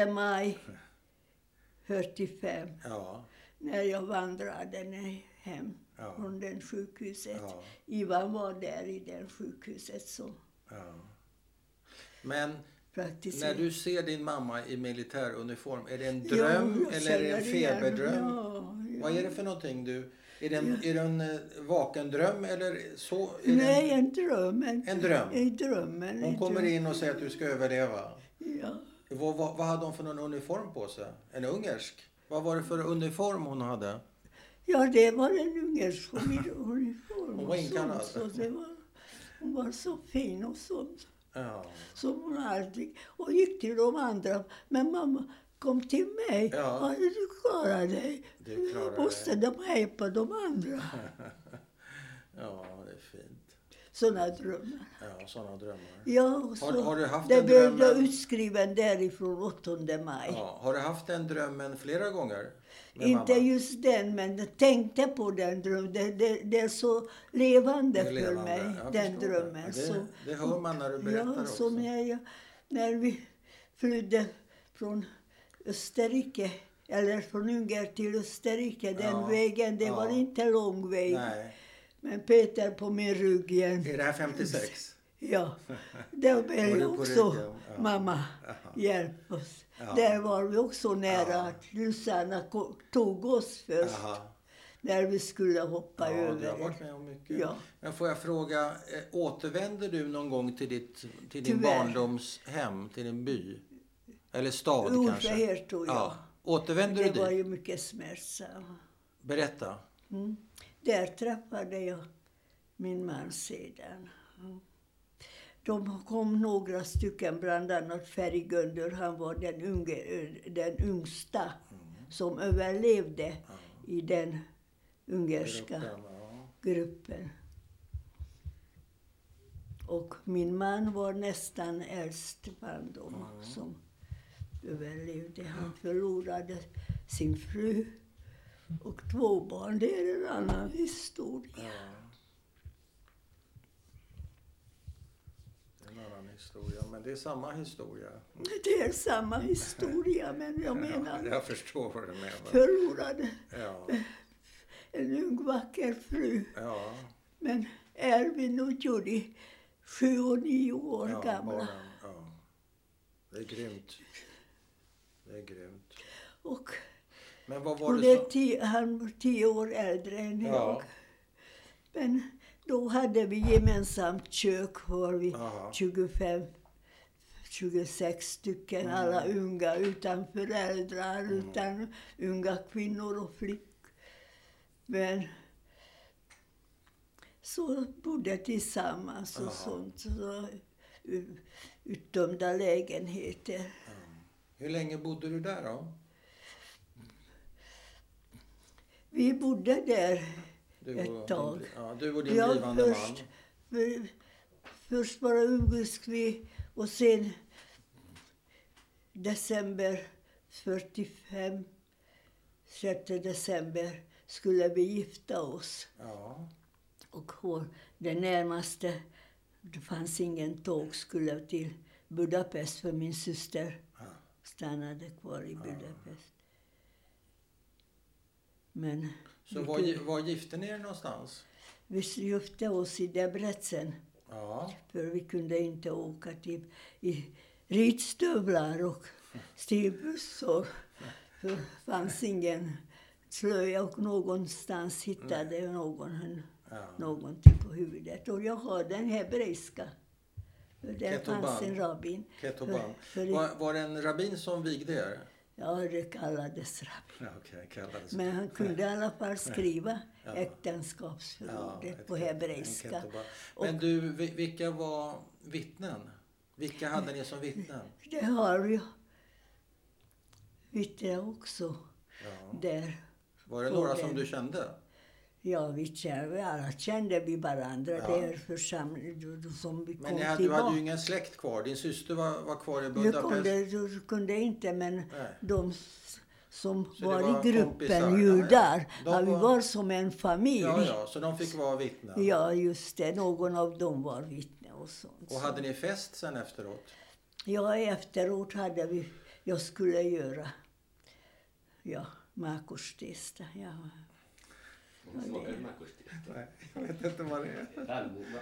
Speaker 1: 8 maj 45.
Speaker 2: Ja.
Speaker 1: när jag vandrade ner hem
Speaker 2: Ja.
Speaker 1: från det sjukhuset.
Speaker 2: Ja.
Speaker 1: Ivan var där i det sjukhuset som
Speaker 2: ja. Men när
Speaker 1: praktiserade.
Speaker 2: du ser din mamma i militäruniform, är det en
Speaker 1: Ja,
Speaker 2: dröm
Speaker 1: jag
Speaker 2: eller är det en
Speaker 1: känner igen-
Speaker 2: feberdröm?
Speaker 1: Ja, ja.
Speaker 2: Vad är det för någonting du... Är det en, är det en eh, vaken dröm eller så? Är det
Speaker 1: Nej, en dröm. En,
Speaker 2: En dröm?
Speaker 1: En dröm. En
Speaker 2: En, hon
Speaker 1: en
Speaker 2: kommer
Speaker 1: dröm.
Speaker 2: in och säger att du ska överleva.
Speaker 1: Ja.
Speaker 2: Vad, vad, vad hade hon för någon uniform på sig? En ungersk? Vad var det för uniform hon hade?
Speaker 1: ja, det var en ungersk uniform.
Speaker 2: Hon
Speaker 1: och
Speaker 2: var
Speaker 1: sånt,
Speaker 2: inkallad.
Speaker 1: Så det var, hon var så fin och sånt.
Speaker 2: Ja.
Speaker 1: Så hon alltid, och gick till de andra. Men mamma, kom till mig. Ja.
Speaker 2: Ja.
Speaker 1: du klarar dig.
Speaker 2: Du klarar dig.
Speaker 1: Måste de hjälpa de andra?
Speaker 2: ja, det är fint.
Speaker 1: Sådana drömmar.
Speaker 2: Ja, sådana drömmar.
Speaker 1: Ja, och så,
Speaker 2: Har- har du haft
Speaker 1: det
Speaker 2: en
Speaker 1: blev
Speaker 2: dröm?
Speaker 1: jag utskriven därifrån 8 maj.
Speaker 2: Ja, har du haft den drömmen flera gånger? med
Speaker 1: Inte
Speaker 2: mamma?
Speaker 1: just den, men jag tänkte på den drömmen. Det, det, det är så levande,
Speaker 2: Det
Speaker 1: för
Speaker 2: är levande.
Speaker 1: mig,
Speaker 2: Jag
Speaker 1: den
Speaker 2: förstår det.
Speaker 1: drömmen.
Speaker 2: Ja, det-
Speaker 1: så,
Speaker 2: det hör man när du berättar
Speaker 1: ja,
Speaker 2: också.
Speaker 1: så när, jag, när vi flydde från Österrike, eller från Ungern till Österrike, den
Speaker 2: Ja,
Speaker 1: vägen, det
Speaker 2: ja.
Speaker 1: var inte lång väg.
Speaker 2: Nej.
Speaker 1: Men Peter på min rygg igen.
Speaker 2: Är det här 56?
Speaker 1: Ja, där
Speaker 2: [LAUGHS] Var
Speaker 1: blev
Speaker 2: du
Speaker 1: jag
Speaker 2: på
Speaker 1: också.
Speaker 2: ryggen? Ja.
Speaker 1: Mamma,
Speaker 2: Jaha.
Speaker 1: hjälp oss.
Speaker 2: Ja.
Speaker 1: Där var vi också nära
Speaker 2: Ja.
Speaker 1: att Susanna ko- tog oss först.
Speaker 2: Jaha.
Speaker 1: När vi skulle hoppa
Speaker 2: Ja,
Speaker 1: över.
Speaker 2: du har
Speaker 1: det.
Speaker 2: varit med om mycket.
Speaker 1: Ja.
Speaker 2: Men får jag fråga, eh, återvänder du någon gång till, ditt, till din
Speaker 1: Tyvärr.
Speaker 2: barndomshem, till din by? Eller stad
Speaker 1: Ulf
Speaker 2: kanske?
Speaker 1: Hertog, ja.
Speaker 2: Återvänder
Speaker 1: Det
Speaker 2: du
Speaker 1: var
Speaker 2: dit?
Speaker 1: ju mycket smärtsamt.
Speaker 2: Berätta.
Speaker 1: Mm. Där träffade jag min man sedan. Mm. De kom några stycken, bland annat Ferry-Gundur. Han var den, unge, den yngsta som överlevde i den ungerska
Speaker 2: Berätta, ja.
Speaker 1: gruppen. Och min man var nästan äldst bland dem som överlevde. Han förlorade sin fru och två barn. Det är en annan historia.
Speaker 2: Ja. Det är en annan historia, men det är samma historia.
Speaker 1: Det är samma historia, men jag
Speaker 2: Ja,
Speaker 1: menar
Speaker 2: jag förstår vad du menar.
Speaker 1: förlorade
Speaker 2: Ja.
Speaker 1: en ung vacker fru.
Speaker 2: Ja.
Speaker 1: Men Erwin och Judy, sju och nio år
Speaker 2: ja,
Speaker 1: gamla.
Speaker 2: barnen, ja. Det är grymt. Det är grymt.
Speaker 1: Och
Speaker 2: Men vad var
Speaker 1: Hon
Speaker 2: det
Speaker 1: är
Speaker 2: som...
Speaker 1: tio, han var tio år äldre än
Speaker 2: Ja.
Speaker 1: jag. Men då hade vi gemensamt kök, var vi
Speaker 2: Aha.
Speaker 1: 25, 26 stycken,
Speaker 2: Mm.
Speaker 1: alla unga utan föräldrar, utan unga kvinnor och flickor. Men så bodde tillsammans och
Speaker 2: Aha.
Speaker 1: sånt. Så, u- utdömda lägenheter.
Speaker 2: Hur länge bodde du där då?
Speaker 1: Vi bodde där
Speaker 2: Du
Speaker 1: Ett
Speaker 2: och din-
Speaker 1: tag.
Speaker 2: Ja, du och din
Speaker 1: Ja,
Speaker 2: blivande
Speaker 1: först,
Speaker 2: man.
Speaker 1: för, först bara umgicks vi och sen december 45, 6 december skulle vi gifta oss.
Speaker 2: Ja.
Speaker 1: Och hon, det närmaste, det fanns ingen tåg, skulle till Budapest för min syster
Speaker 2: Ja.
Speaker 1: stannade kvar i Budapest. Men
Speaker 2: Så var, gi- var gifte ni er någonstans?
Speaker 1: vi gifte oss i Debrecen.
Speaker 2: Ja.
Speaker 1: För vi kunde inte åka till, i ridstövlar och stilbussor. För det fanns ingen slöja och någonstans hittade jag någon en-
Speaker 2: Mm. Ja.
Speaker 1: någonting på huvudet. Och jag har den hebreiska. För där
Speaker 2: Ketoban.
Speaker 1: fanns en rabbin.
Speaker 2: Ketoban.
Speaker 1: För- för-
Speaker 2: Var, var det en rabbin som vigde er? [LAUGHS]
Speaker 1: Ja, det kallades rabbin.
Speaker 2: Ja, Okej, kallades
Speaker 1: Men han kunde i alla fall skriva
Speaker 2: Ja.
Speaker 1: äktenskapsförordet
Speaker 2: ett
Speaker 1: på
Speaker 2: ket- en
Speaker 1: hebreiska.
Speaker 2: ketoban. Men du, vi- vilka var vittnen? Vilka hade ni som vittnen?
Speaker 1: Det har jag. Vittne också.
Speaker 2: Ja.
Speaker 1: Där.
Speaker 2: Var det
Speaker 1: på
Speaker 2: några som
Speaker 1: den.
Speaker 2: du kände?
Speaker 1: Ja, vi kände, alla kände vi varandra
Speaker 2: Ja.
Speaker 1: där församlingen som vi
Speaker 2: Men
Speaker 1: kom
Speaker 2: ni hade, du
Speaker 1: tillbaka.
Speaker 2: hade ju ingen släkt kvar. Din syster var, var kvar i
Speaker 1: du,
Speaker 2: Budapest.
Speaker 1: kunde, du kunde inte, men de s- som
Speaker 2: det
Speaker 1: var,
Speaker 2: var
Speaker 1: i gruppen
Speaker 2: kompisar, ja, ja.
Speaker 1: judar,
Speaker 2: De
Speaker 1: ja, vi
Speaker 2: var-
Speaker 1: var som en familj.
Speaker 2: Ja, ja, så de fick vara vittnen.
Speaker 1: Ja, just det. Någon av dem var vittne och sånt.
Speaker 2: Och hade ni fest sen efteråt?
Speaker 1: Ja, efteråt hade vi... Jag skulle göra... Ja, Markostista. Ja.
Speaker 3: Smakar det mackorsteg?
Speaker 2: Nej, jag vet inte vad det är.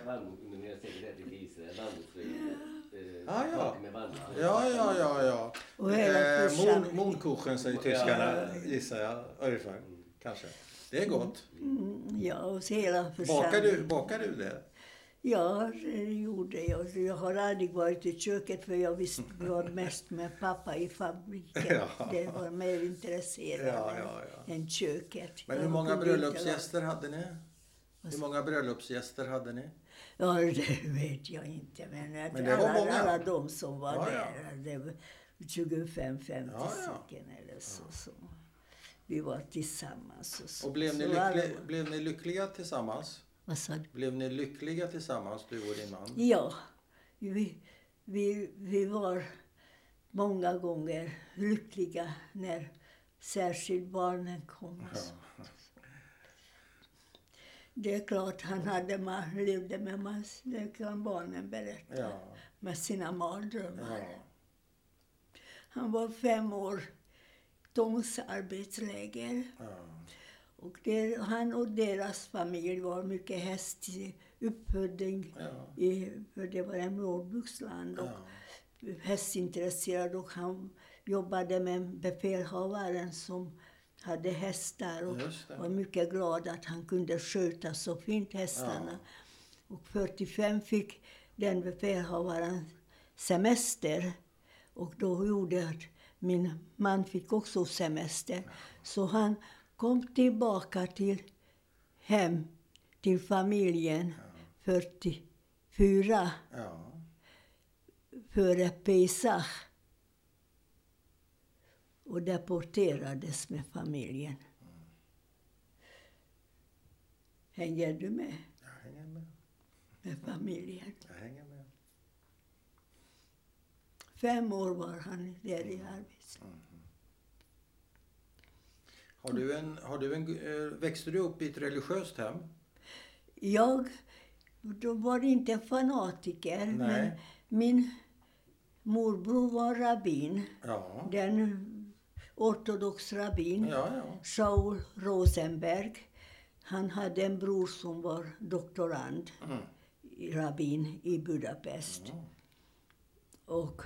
Speaker 3: Vallmo, numera säkert äter till Israel, vallmofrön.
Speaker 2: Ah, ja.
Speaker 3: Med vallmofrön.
Speaker 2: Ja, ja, ja, ja.
Speaker 1: Och hela
Speaker 2: Eh,
Speaker 1: kursen.
Speaker 2: Mon- Monkuchen säger tyskarna, gissar jag. Ungefär, kanske. Det är gott.
Speaker 1: Mm, ja, och så hela
Speaker 2: Bakar
Speaker 1: församlingen.
Speaker 2: du, bakar du det?
Speaker 1: Ja, det gjorde jag. Jag har aldrig varit i köket för jag visste, jag
Speaker 2: [LAUGHS]
Speaker 1: var mest med pappa i fabriken.
Speaker 2: Ja.
Speaker 1: Det var mer intresserad
Speaker 2: Ja, ja, ja.
Speaker 1: än köket.
Speaker 2: Men hur
Speaker 1: Jag
Speaker 2: många
Speaker 1: kunde inte
Speaker 2: bröllopsgäster hade ni? Hur många bröllopsgäster hade ni?
Speaker 1: vara- Ja, det vet jag inte. Men, att
Speaker 2: Men det var
Speaker 1: alla,
Speaker 2: många.
Speaker 1: alla de som var
Speaker 2: Ja, ja.
Speaker 1: där, det var 25-50
Speaker 2: Ja, ja.
Speaker 1: stycken eller så. som vi var tillsammans. Och, så.
Speaker 2: Och blev ni,
Speaker 1: Så alla
Speaker 2: lyckli,
Speaker 1: var-
Speaker 2: blev ni lyckliga tillsammans?
Speaker 1: Vad sa du?
Speaker 2: Blev ni lyckliga tillsammans, du och din man?
Speaker 1: Ja, vi, vi, vi var många gånger lyckliga när särskilt barnen kom. och så. Det är klart, han hade, ma- levde med mas- det kan barnen berätta,
Speaker 2: Ja.
Speaker 1: med sina mardrömmar.
Speaker 2: ja.
Speaker 1: Han var fem år tvångsarbetsläger.
Speaker 2: ja.
Speaker 1: Och där, han och deras familj var mycket häst uppfödning.
Speaker 2: Ja.
Speaker 1: I, för det var en jordbruksland och hästintresserad och han jobbade med befälhavaren som hade hästar och
Speaker 2: Just det.
Speaker 1: var mycket glad att han kunde sköta så fint hästarna. Och 45 fick den befälhavaren semester och då gjorde att min man fick också semester. Så han kom tillbaka till hem till familjen 44
Speaker 2: ja.
Speaker 1: före Pesach och deporterades med familjen. Hänger du med?
Speaker 2: Jag hänger med.
Speaker 1: Med familjen.
Speaker 2: Jag hänger med.
Speaker 1: Fem år var han där i arbetslivet.
Speaker 2: Har du en, har du en, eh, växte du upp i ett religiöst hem?
Speaker 1: Jag då var inte fanatiker, men
Speaker 2: Nej.
Speaker 1: min morbror var rabbin.
Speaker 2: Ja.
Speaker 1: Den ortodox rabbin.
Speaker 2: Ja, ja.
Speaker 1: Saul Rosenberg. Han hade en bror som var doktorand, i rabbin i Budapest. Och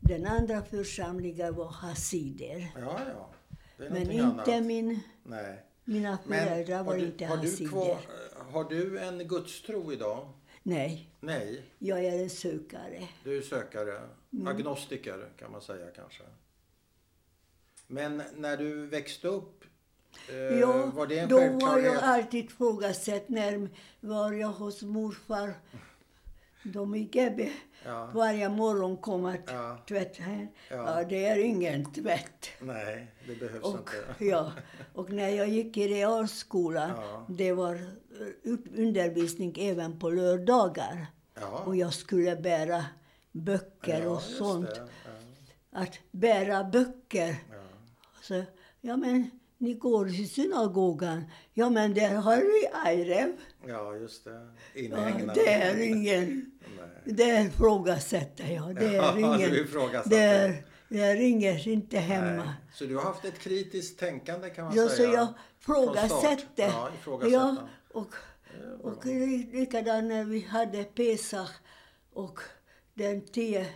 Speaker 1: den andra församlingen var hasider.
Speaker 2: Ja, ja. Det är
Speaker 1: Men
Speaker 2: någonting
Speaker 1: inte
Speaker 2: annat.
Speaker 1: min,
Speaker 2: Nej.
Speaker 1: mina
Speaker 2: Men
Speaker 1: föräldrar var
Speaker 2: har du,
Speaker 1: inte
Speaker 2: har
Speaker 1: hasider.
Speaker 2: du, kvar, eh, har du en gudstro idag?
Speaker 1: Nej,
Speaker 2: Nej,
Speaker 1: jag är en sökare.
Speaker 2: du är sökare.
Speaker 1: Mm.
Speaker 2: Agnostiker kan man säga kanske. Men när du växte upp, eh,
Speaker 1: ja,
Speaker 2: var det en
Speaker 1: då var jag
Speaker 2: självklarhet?
Speaker 1: alltid ifrågasatt när var jag hos morfar. De i GB.
Speaker 2: Ja.
Speaker 1: Varje morgon kom att
Speaker 2: Ja.
Speaker 1: tvätta henne.
Speaker 2: Ja.
Speaker 1: Ja. det är ingen tvätt.
Speaker 2: Nej, det behövs
Speaker 1: Och,
Speaker 2: inte.
Speaker 1: ja, och när jag gick i realskolan,
Speaker 2: Ja.
Speaker 1: det var eh, ut- undervisning även på lördagar. Och
Speaker 2: Ja,
Speaker 1: jag skulle bära
Speaker 2: ja,
Speaker 1: böcker och
Speaker 2: just
Speaker 1: sånt.
Speaker 2: det.
Speaker 1: Att bära böcker.
Speaker 2: Ja, ja.
Speaker 1: Så, ja men, ni går i synagogan. Ja men där har vi Ajrev.
Speaker 2: ja, just det.
Speaker 1: Ja,
Speaker 2: Inhägnad.
Speaker 1: det är ingen...
Speaker 2: Nej.
Speaker 1: Det ifrågasätter jag. Det är
Speaker 2: Ja, [LAUGHS]
Speaker 1: ingen...
Speaker 2: du ifrågasätter.
Speaker 1: det, är, det är inget, inte hemma.
Speaker 2: Nej. Så du har haft ett kritiskt tänkande kan man
Speaker 1: Ja, så
Speaker 2: säga?
Speaker 1: jag
Speaker 2: Från start.
Speaker 1: ifrågasätter.
Speaker 2: Ja, ifrågasätta.
Speaker 1: Ja, och, och li- likadant när vi hade Pesach och den tio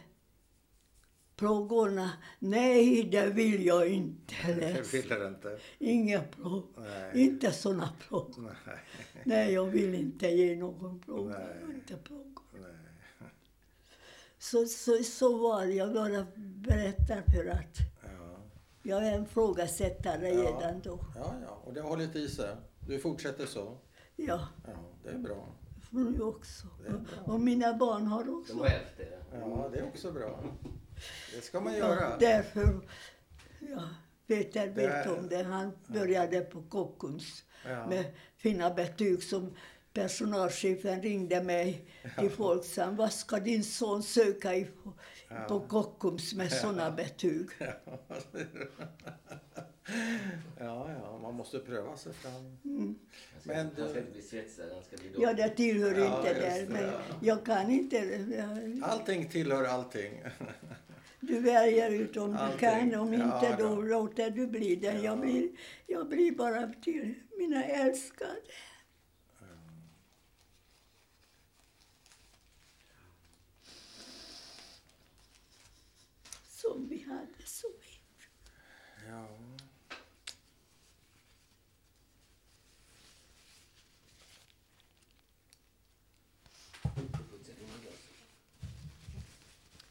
Speaker 1: plågorna. Nej, det vill jag inte
Speaker 2: Jag
Speaker 1: läsa.
Speaker 2: ville det inte.
Speaker 1: Inga plågor.
Speaker 2: Nej.
Speaker 1: Inte såna plågor.
Speaker 2: Nej.
Speaker 1: Nej, jag vill inte ge någon plåga.
Speaker 2: Nej.
Speaker 1: Inte plågor.
Speaker 2: Nej.
Speaker 1: Så, så, så var det. Jag bara berättar för att
Speaker 2: Ja.
Speaker 1: jag är en frågasättare
Speaker 2: Ja.
Speaker 1: redan då.
Speaker 2: ja, ja. Och det har hållit i sig. Du fortsätter så.
Speaker 1: Ja,
Speaker 2: Ja, det är bra.
Speaker 1: får du också.
Speaker 2: Det är bra.
Speaker 1: Och mina barn har också.
Speaker 3: De har ärvt det.
Speaker 2: Ja, det är också bra. Det ska man
Speaker 1: Ja,
Speaker 2: göra.
Speaker 1: därför, ja, Peter vet
Speaker 2: Där.
Speaker 1: om det. Han började på Kockums
Speaker 2: Ja.
Speaker 1: med fina betyg som personalchefen ringde mig till Folksam. Vad ska din son söka i, på Kockums med såna betyg?
Speaker 2: [LAUGHS] Ja, ja, man måste pröva sig fram.
Speaker 3: Han ska,
Speaker 2: Men
Speaker 3: han ska
Speaker 2: du-
Speaker 3: Alltså, inte bli svetsare, han ska bli doktor.
Speaker 1: Ja, det tillhör
Speaker 2: Ja,
Speaker 1: inte
Speaker 2: just
Speaker 1: där,
Speaker 2: det,
Speaker 1: men
Speaker 2: ja.
Speaker 1: jag kan inte. jag-
Speaker 2: Allting tillhör allting.
Speaker 1: Du väljer ut om du
Speaker 2: Allting.
Speaker 1: kan, om
Speaker 2: Ja,
Speaker 1: inte
Speaker 2: då.
Speaker 1: då låter du bli det. Jag, blir, jag blir bara till mina älskade. Som vi hade så fint.
Speaker 2: Ja.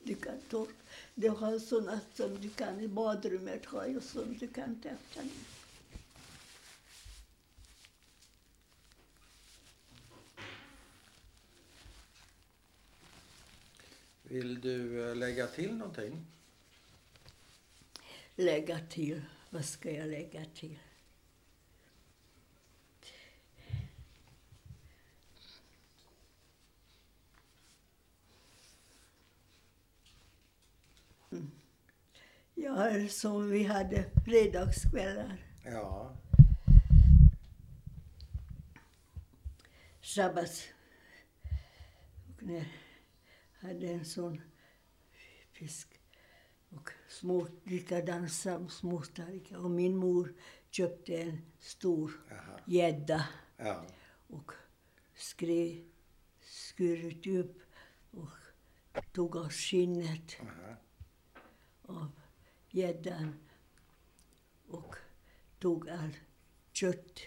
Speaker 1: Du kan torka. Du har sådana som du kan i badrummet ha och som du kan tvätta ner.
Speaker 2: Vill du eh, lägga till någonting?
Speaker 1: Lägga till. Vad ska jag lägga till? Mm. Ja, som vi hade fredagskvällar.
Speaker 2: Ja.
Speaker 1: Shabbats. Och när jag hade en sån fisk. Och små, likadant sam- små starka. Och min mor köpte en stor
Speaker 2: Aha.
Speaker 1: gädda
Speaker 2: Ja.
Speaker 1: och skrev, skurit upp och tog av skinnet
Speaker 2: Aha.
Speaker 1: av gäddan och tog all kött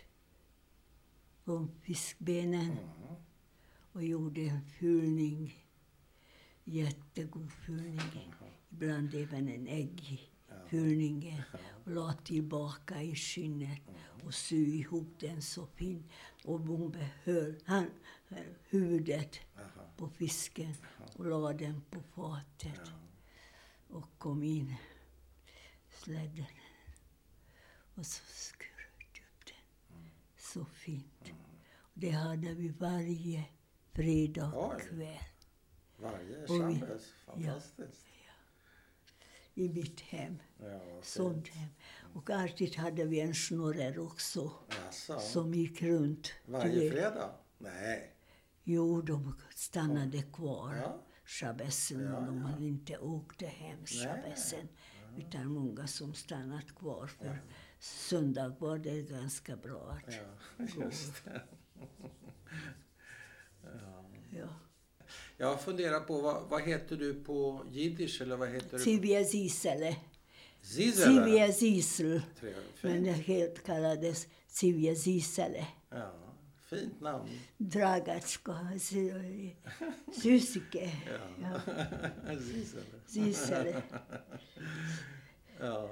Speaker 1: från fiskbenen och gjorde en fyllning. Jättegod fyllning. Ibland även en ägg i fyllningen. Och la tillbaka i skinnet och sy ihop den så fint. Och hon behöll han, eh, huvudet
Speaker 2: Aha.
Speaker 1: på fisken och la den på fatet och kom in släden. Och så skurade upp den. Så fint. Det hade vi varje fredag
Speaker 2: Oj.
Speaker 1: kväll
Speaker 2: Varje
Speaker 1: Och vi-
Speaker 2: Shabbos. Fantastiskt.
Speaker 1: i mitt hem.
Speaker 2: Ja, vad
Speaker 1: Sånt
Speaker 2: fint.
Speaker 1: hem. Och alltid hade vi en snurrer också
Speaker 2: Jaså?
Speaker 1: som gick runt. Du
Speaker 2: Varje
Speaker 1: vet.
Speaker 2: fredag? Nej. [LAUGHS]
Speaker 1: Jo, de stannade kvar.
Speaker 2: Ja.
Speaker 1: Shabbesen
Speaker 2: Ja,
Speaker 1: och de
Speaker 2: ja.
Speaker 1: hade inte åkt hem shabbesen. Utan många som stannat kvar. För söndag var det ganska bra att
Speaker 2: Ja, just det.
Speaker 1: ja.
Speaker 2: Jag funderar på, vad, vad heter du på jiddisch eller vad heter du?
Speaker 1: Sivia Zisele.
Speaker 2: Zizele?
Speaker 1: Sivia Zisel.
Speaker 2: Trevligt.
Speaker 1: Men det
Speaker 2: Fint.
Speaker 1: helt kallades Sivia Zisele.
Speaker 2: Ja, fint namn. [LAUGHS]
Speaker 1: Dragatska, Sy- Sysike. Ja.
Speaker 2: Zizele.
Speaker 1: Zisele.
Speaker 2: Ja.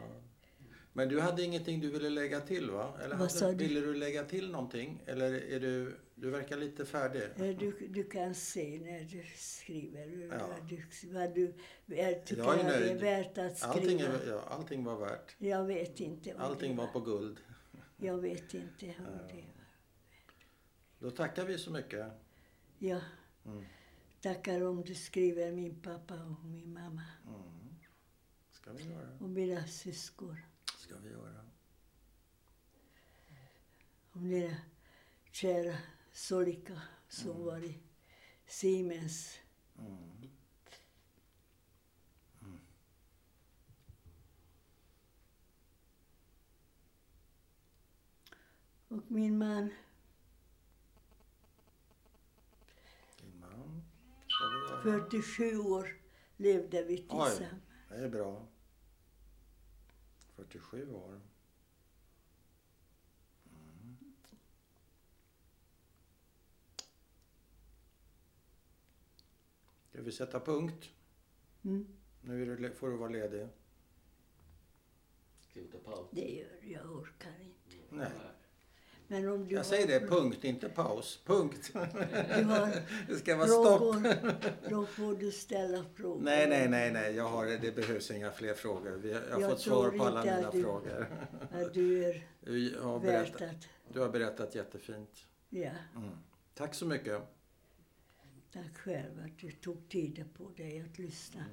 Speaker 2: Men du hade ingenting du ville lägga till va? Eller
Speaker 1: Vad
Speaker 2: hade,
Speaker 1: sa du?
Speaker 2: Ville du lägga till någonting? Eller är du, du verkar lite färdig.
Speaker 1: Du, du kan se när du skriver
Speaker 2: Ja.
Speaker 1: vad du, vad du jag tycker
Speaker 2: Jag är
Speaker 1: att det är
Speaker 2: nöjd.
Speaker 1: värt att skriva.
Speaker 2: Allting, är, ja, allting var värt.
Speaker 1: Jag vet inte. om
Speaker 2: Allting
Speaker 1: det
Speaker 2: var på guld.
Speaker 1: Jag vet inte om det var.
Speaker 2: Då tackar vi så mycket.
Speaker 1: Ja.
Speaker 2: Mm.
Speaker 1: Tackar om du skriver min pappa och min mamma
Speaker 2: Mm. Ska vi göra.
Speaker 1: och mina syskon.
Speaker 2: Ska vi göra.
Speaker 1: Om dina kära Solika som var i Siemens.
Speaker 2: Mm.
Speaker 1: Och min man,
Speaker 2: Din man. Ska vi göra.
Speaker 1: 47 år, levde vi
Speaker 2: Oj.
Speaker 1: tillsammans.
Speaker 2: Det är bra. 47 år. Mm. Ska vi sätta punkt?
Speaker 1: Mm.
Speaker 2: Nu är du, le- får du vara ledig.
Speaker 3: Ska vi ta paus? Mm.
Speaker 1: Det gör jag, orkar inte.
Speaker 2: Nej.
Speaker 1: Men om du
Speaker 2: Jag säger det, punkt, inte paus. Punkt. [LAUGHS]
Speaker 1: Du har
Speaker 2: Det ska vara stopp.
Speaker 1: frågor, då får du ställa frågor.
Speaker 2: Nej, nej, nej, nej. Jag har, det behövs inga fler frågor. Vi, jag har
Speaker 1: Jag
Speaker 2: fått svar
Speaker 1: tror
Speaker 2: på alla
Speaker 1: inte
Speaker 2: mina
Speaker 1: att du-
Speaker 2: frågor. [LAUGHS]
Speaker 1: Att du är
Speaker 2: Vi har
Speaker 1: värt
Speaker 2: berättat,
Speaker 1: att...
Speaker 2: du har berättat jättefint.
Speaker 1: Ja,
Speaker 2: Mm. Tack så mycket.
Speaker 1: tack själv att du tog tiden på dig att lyssna.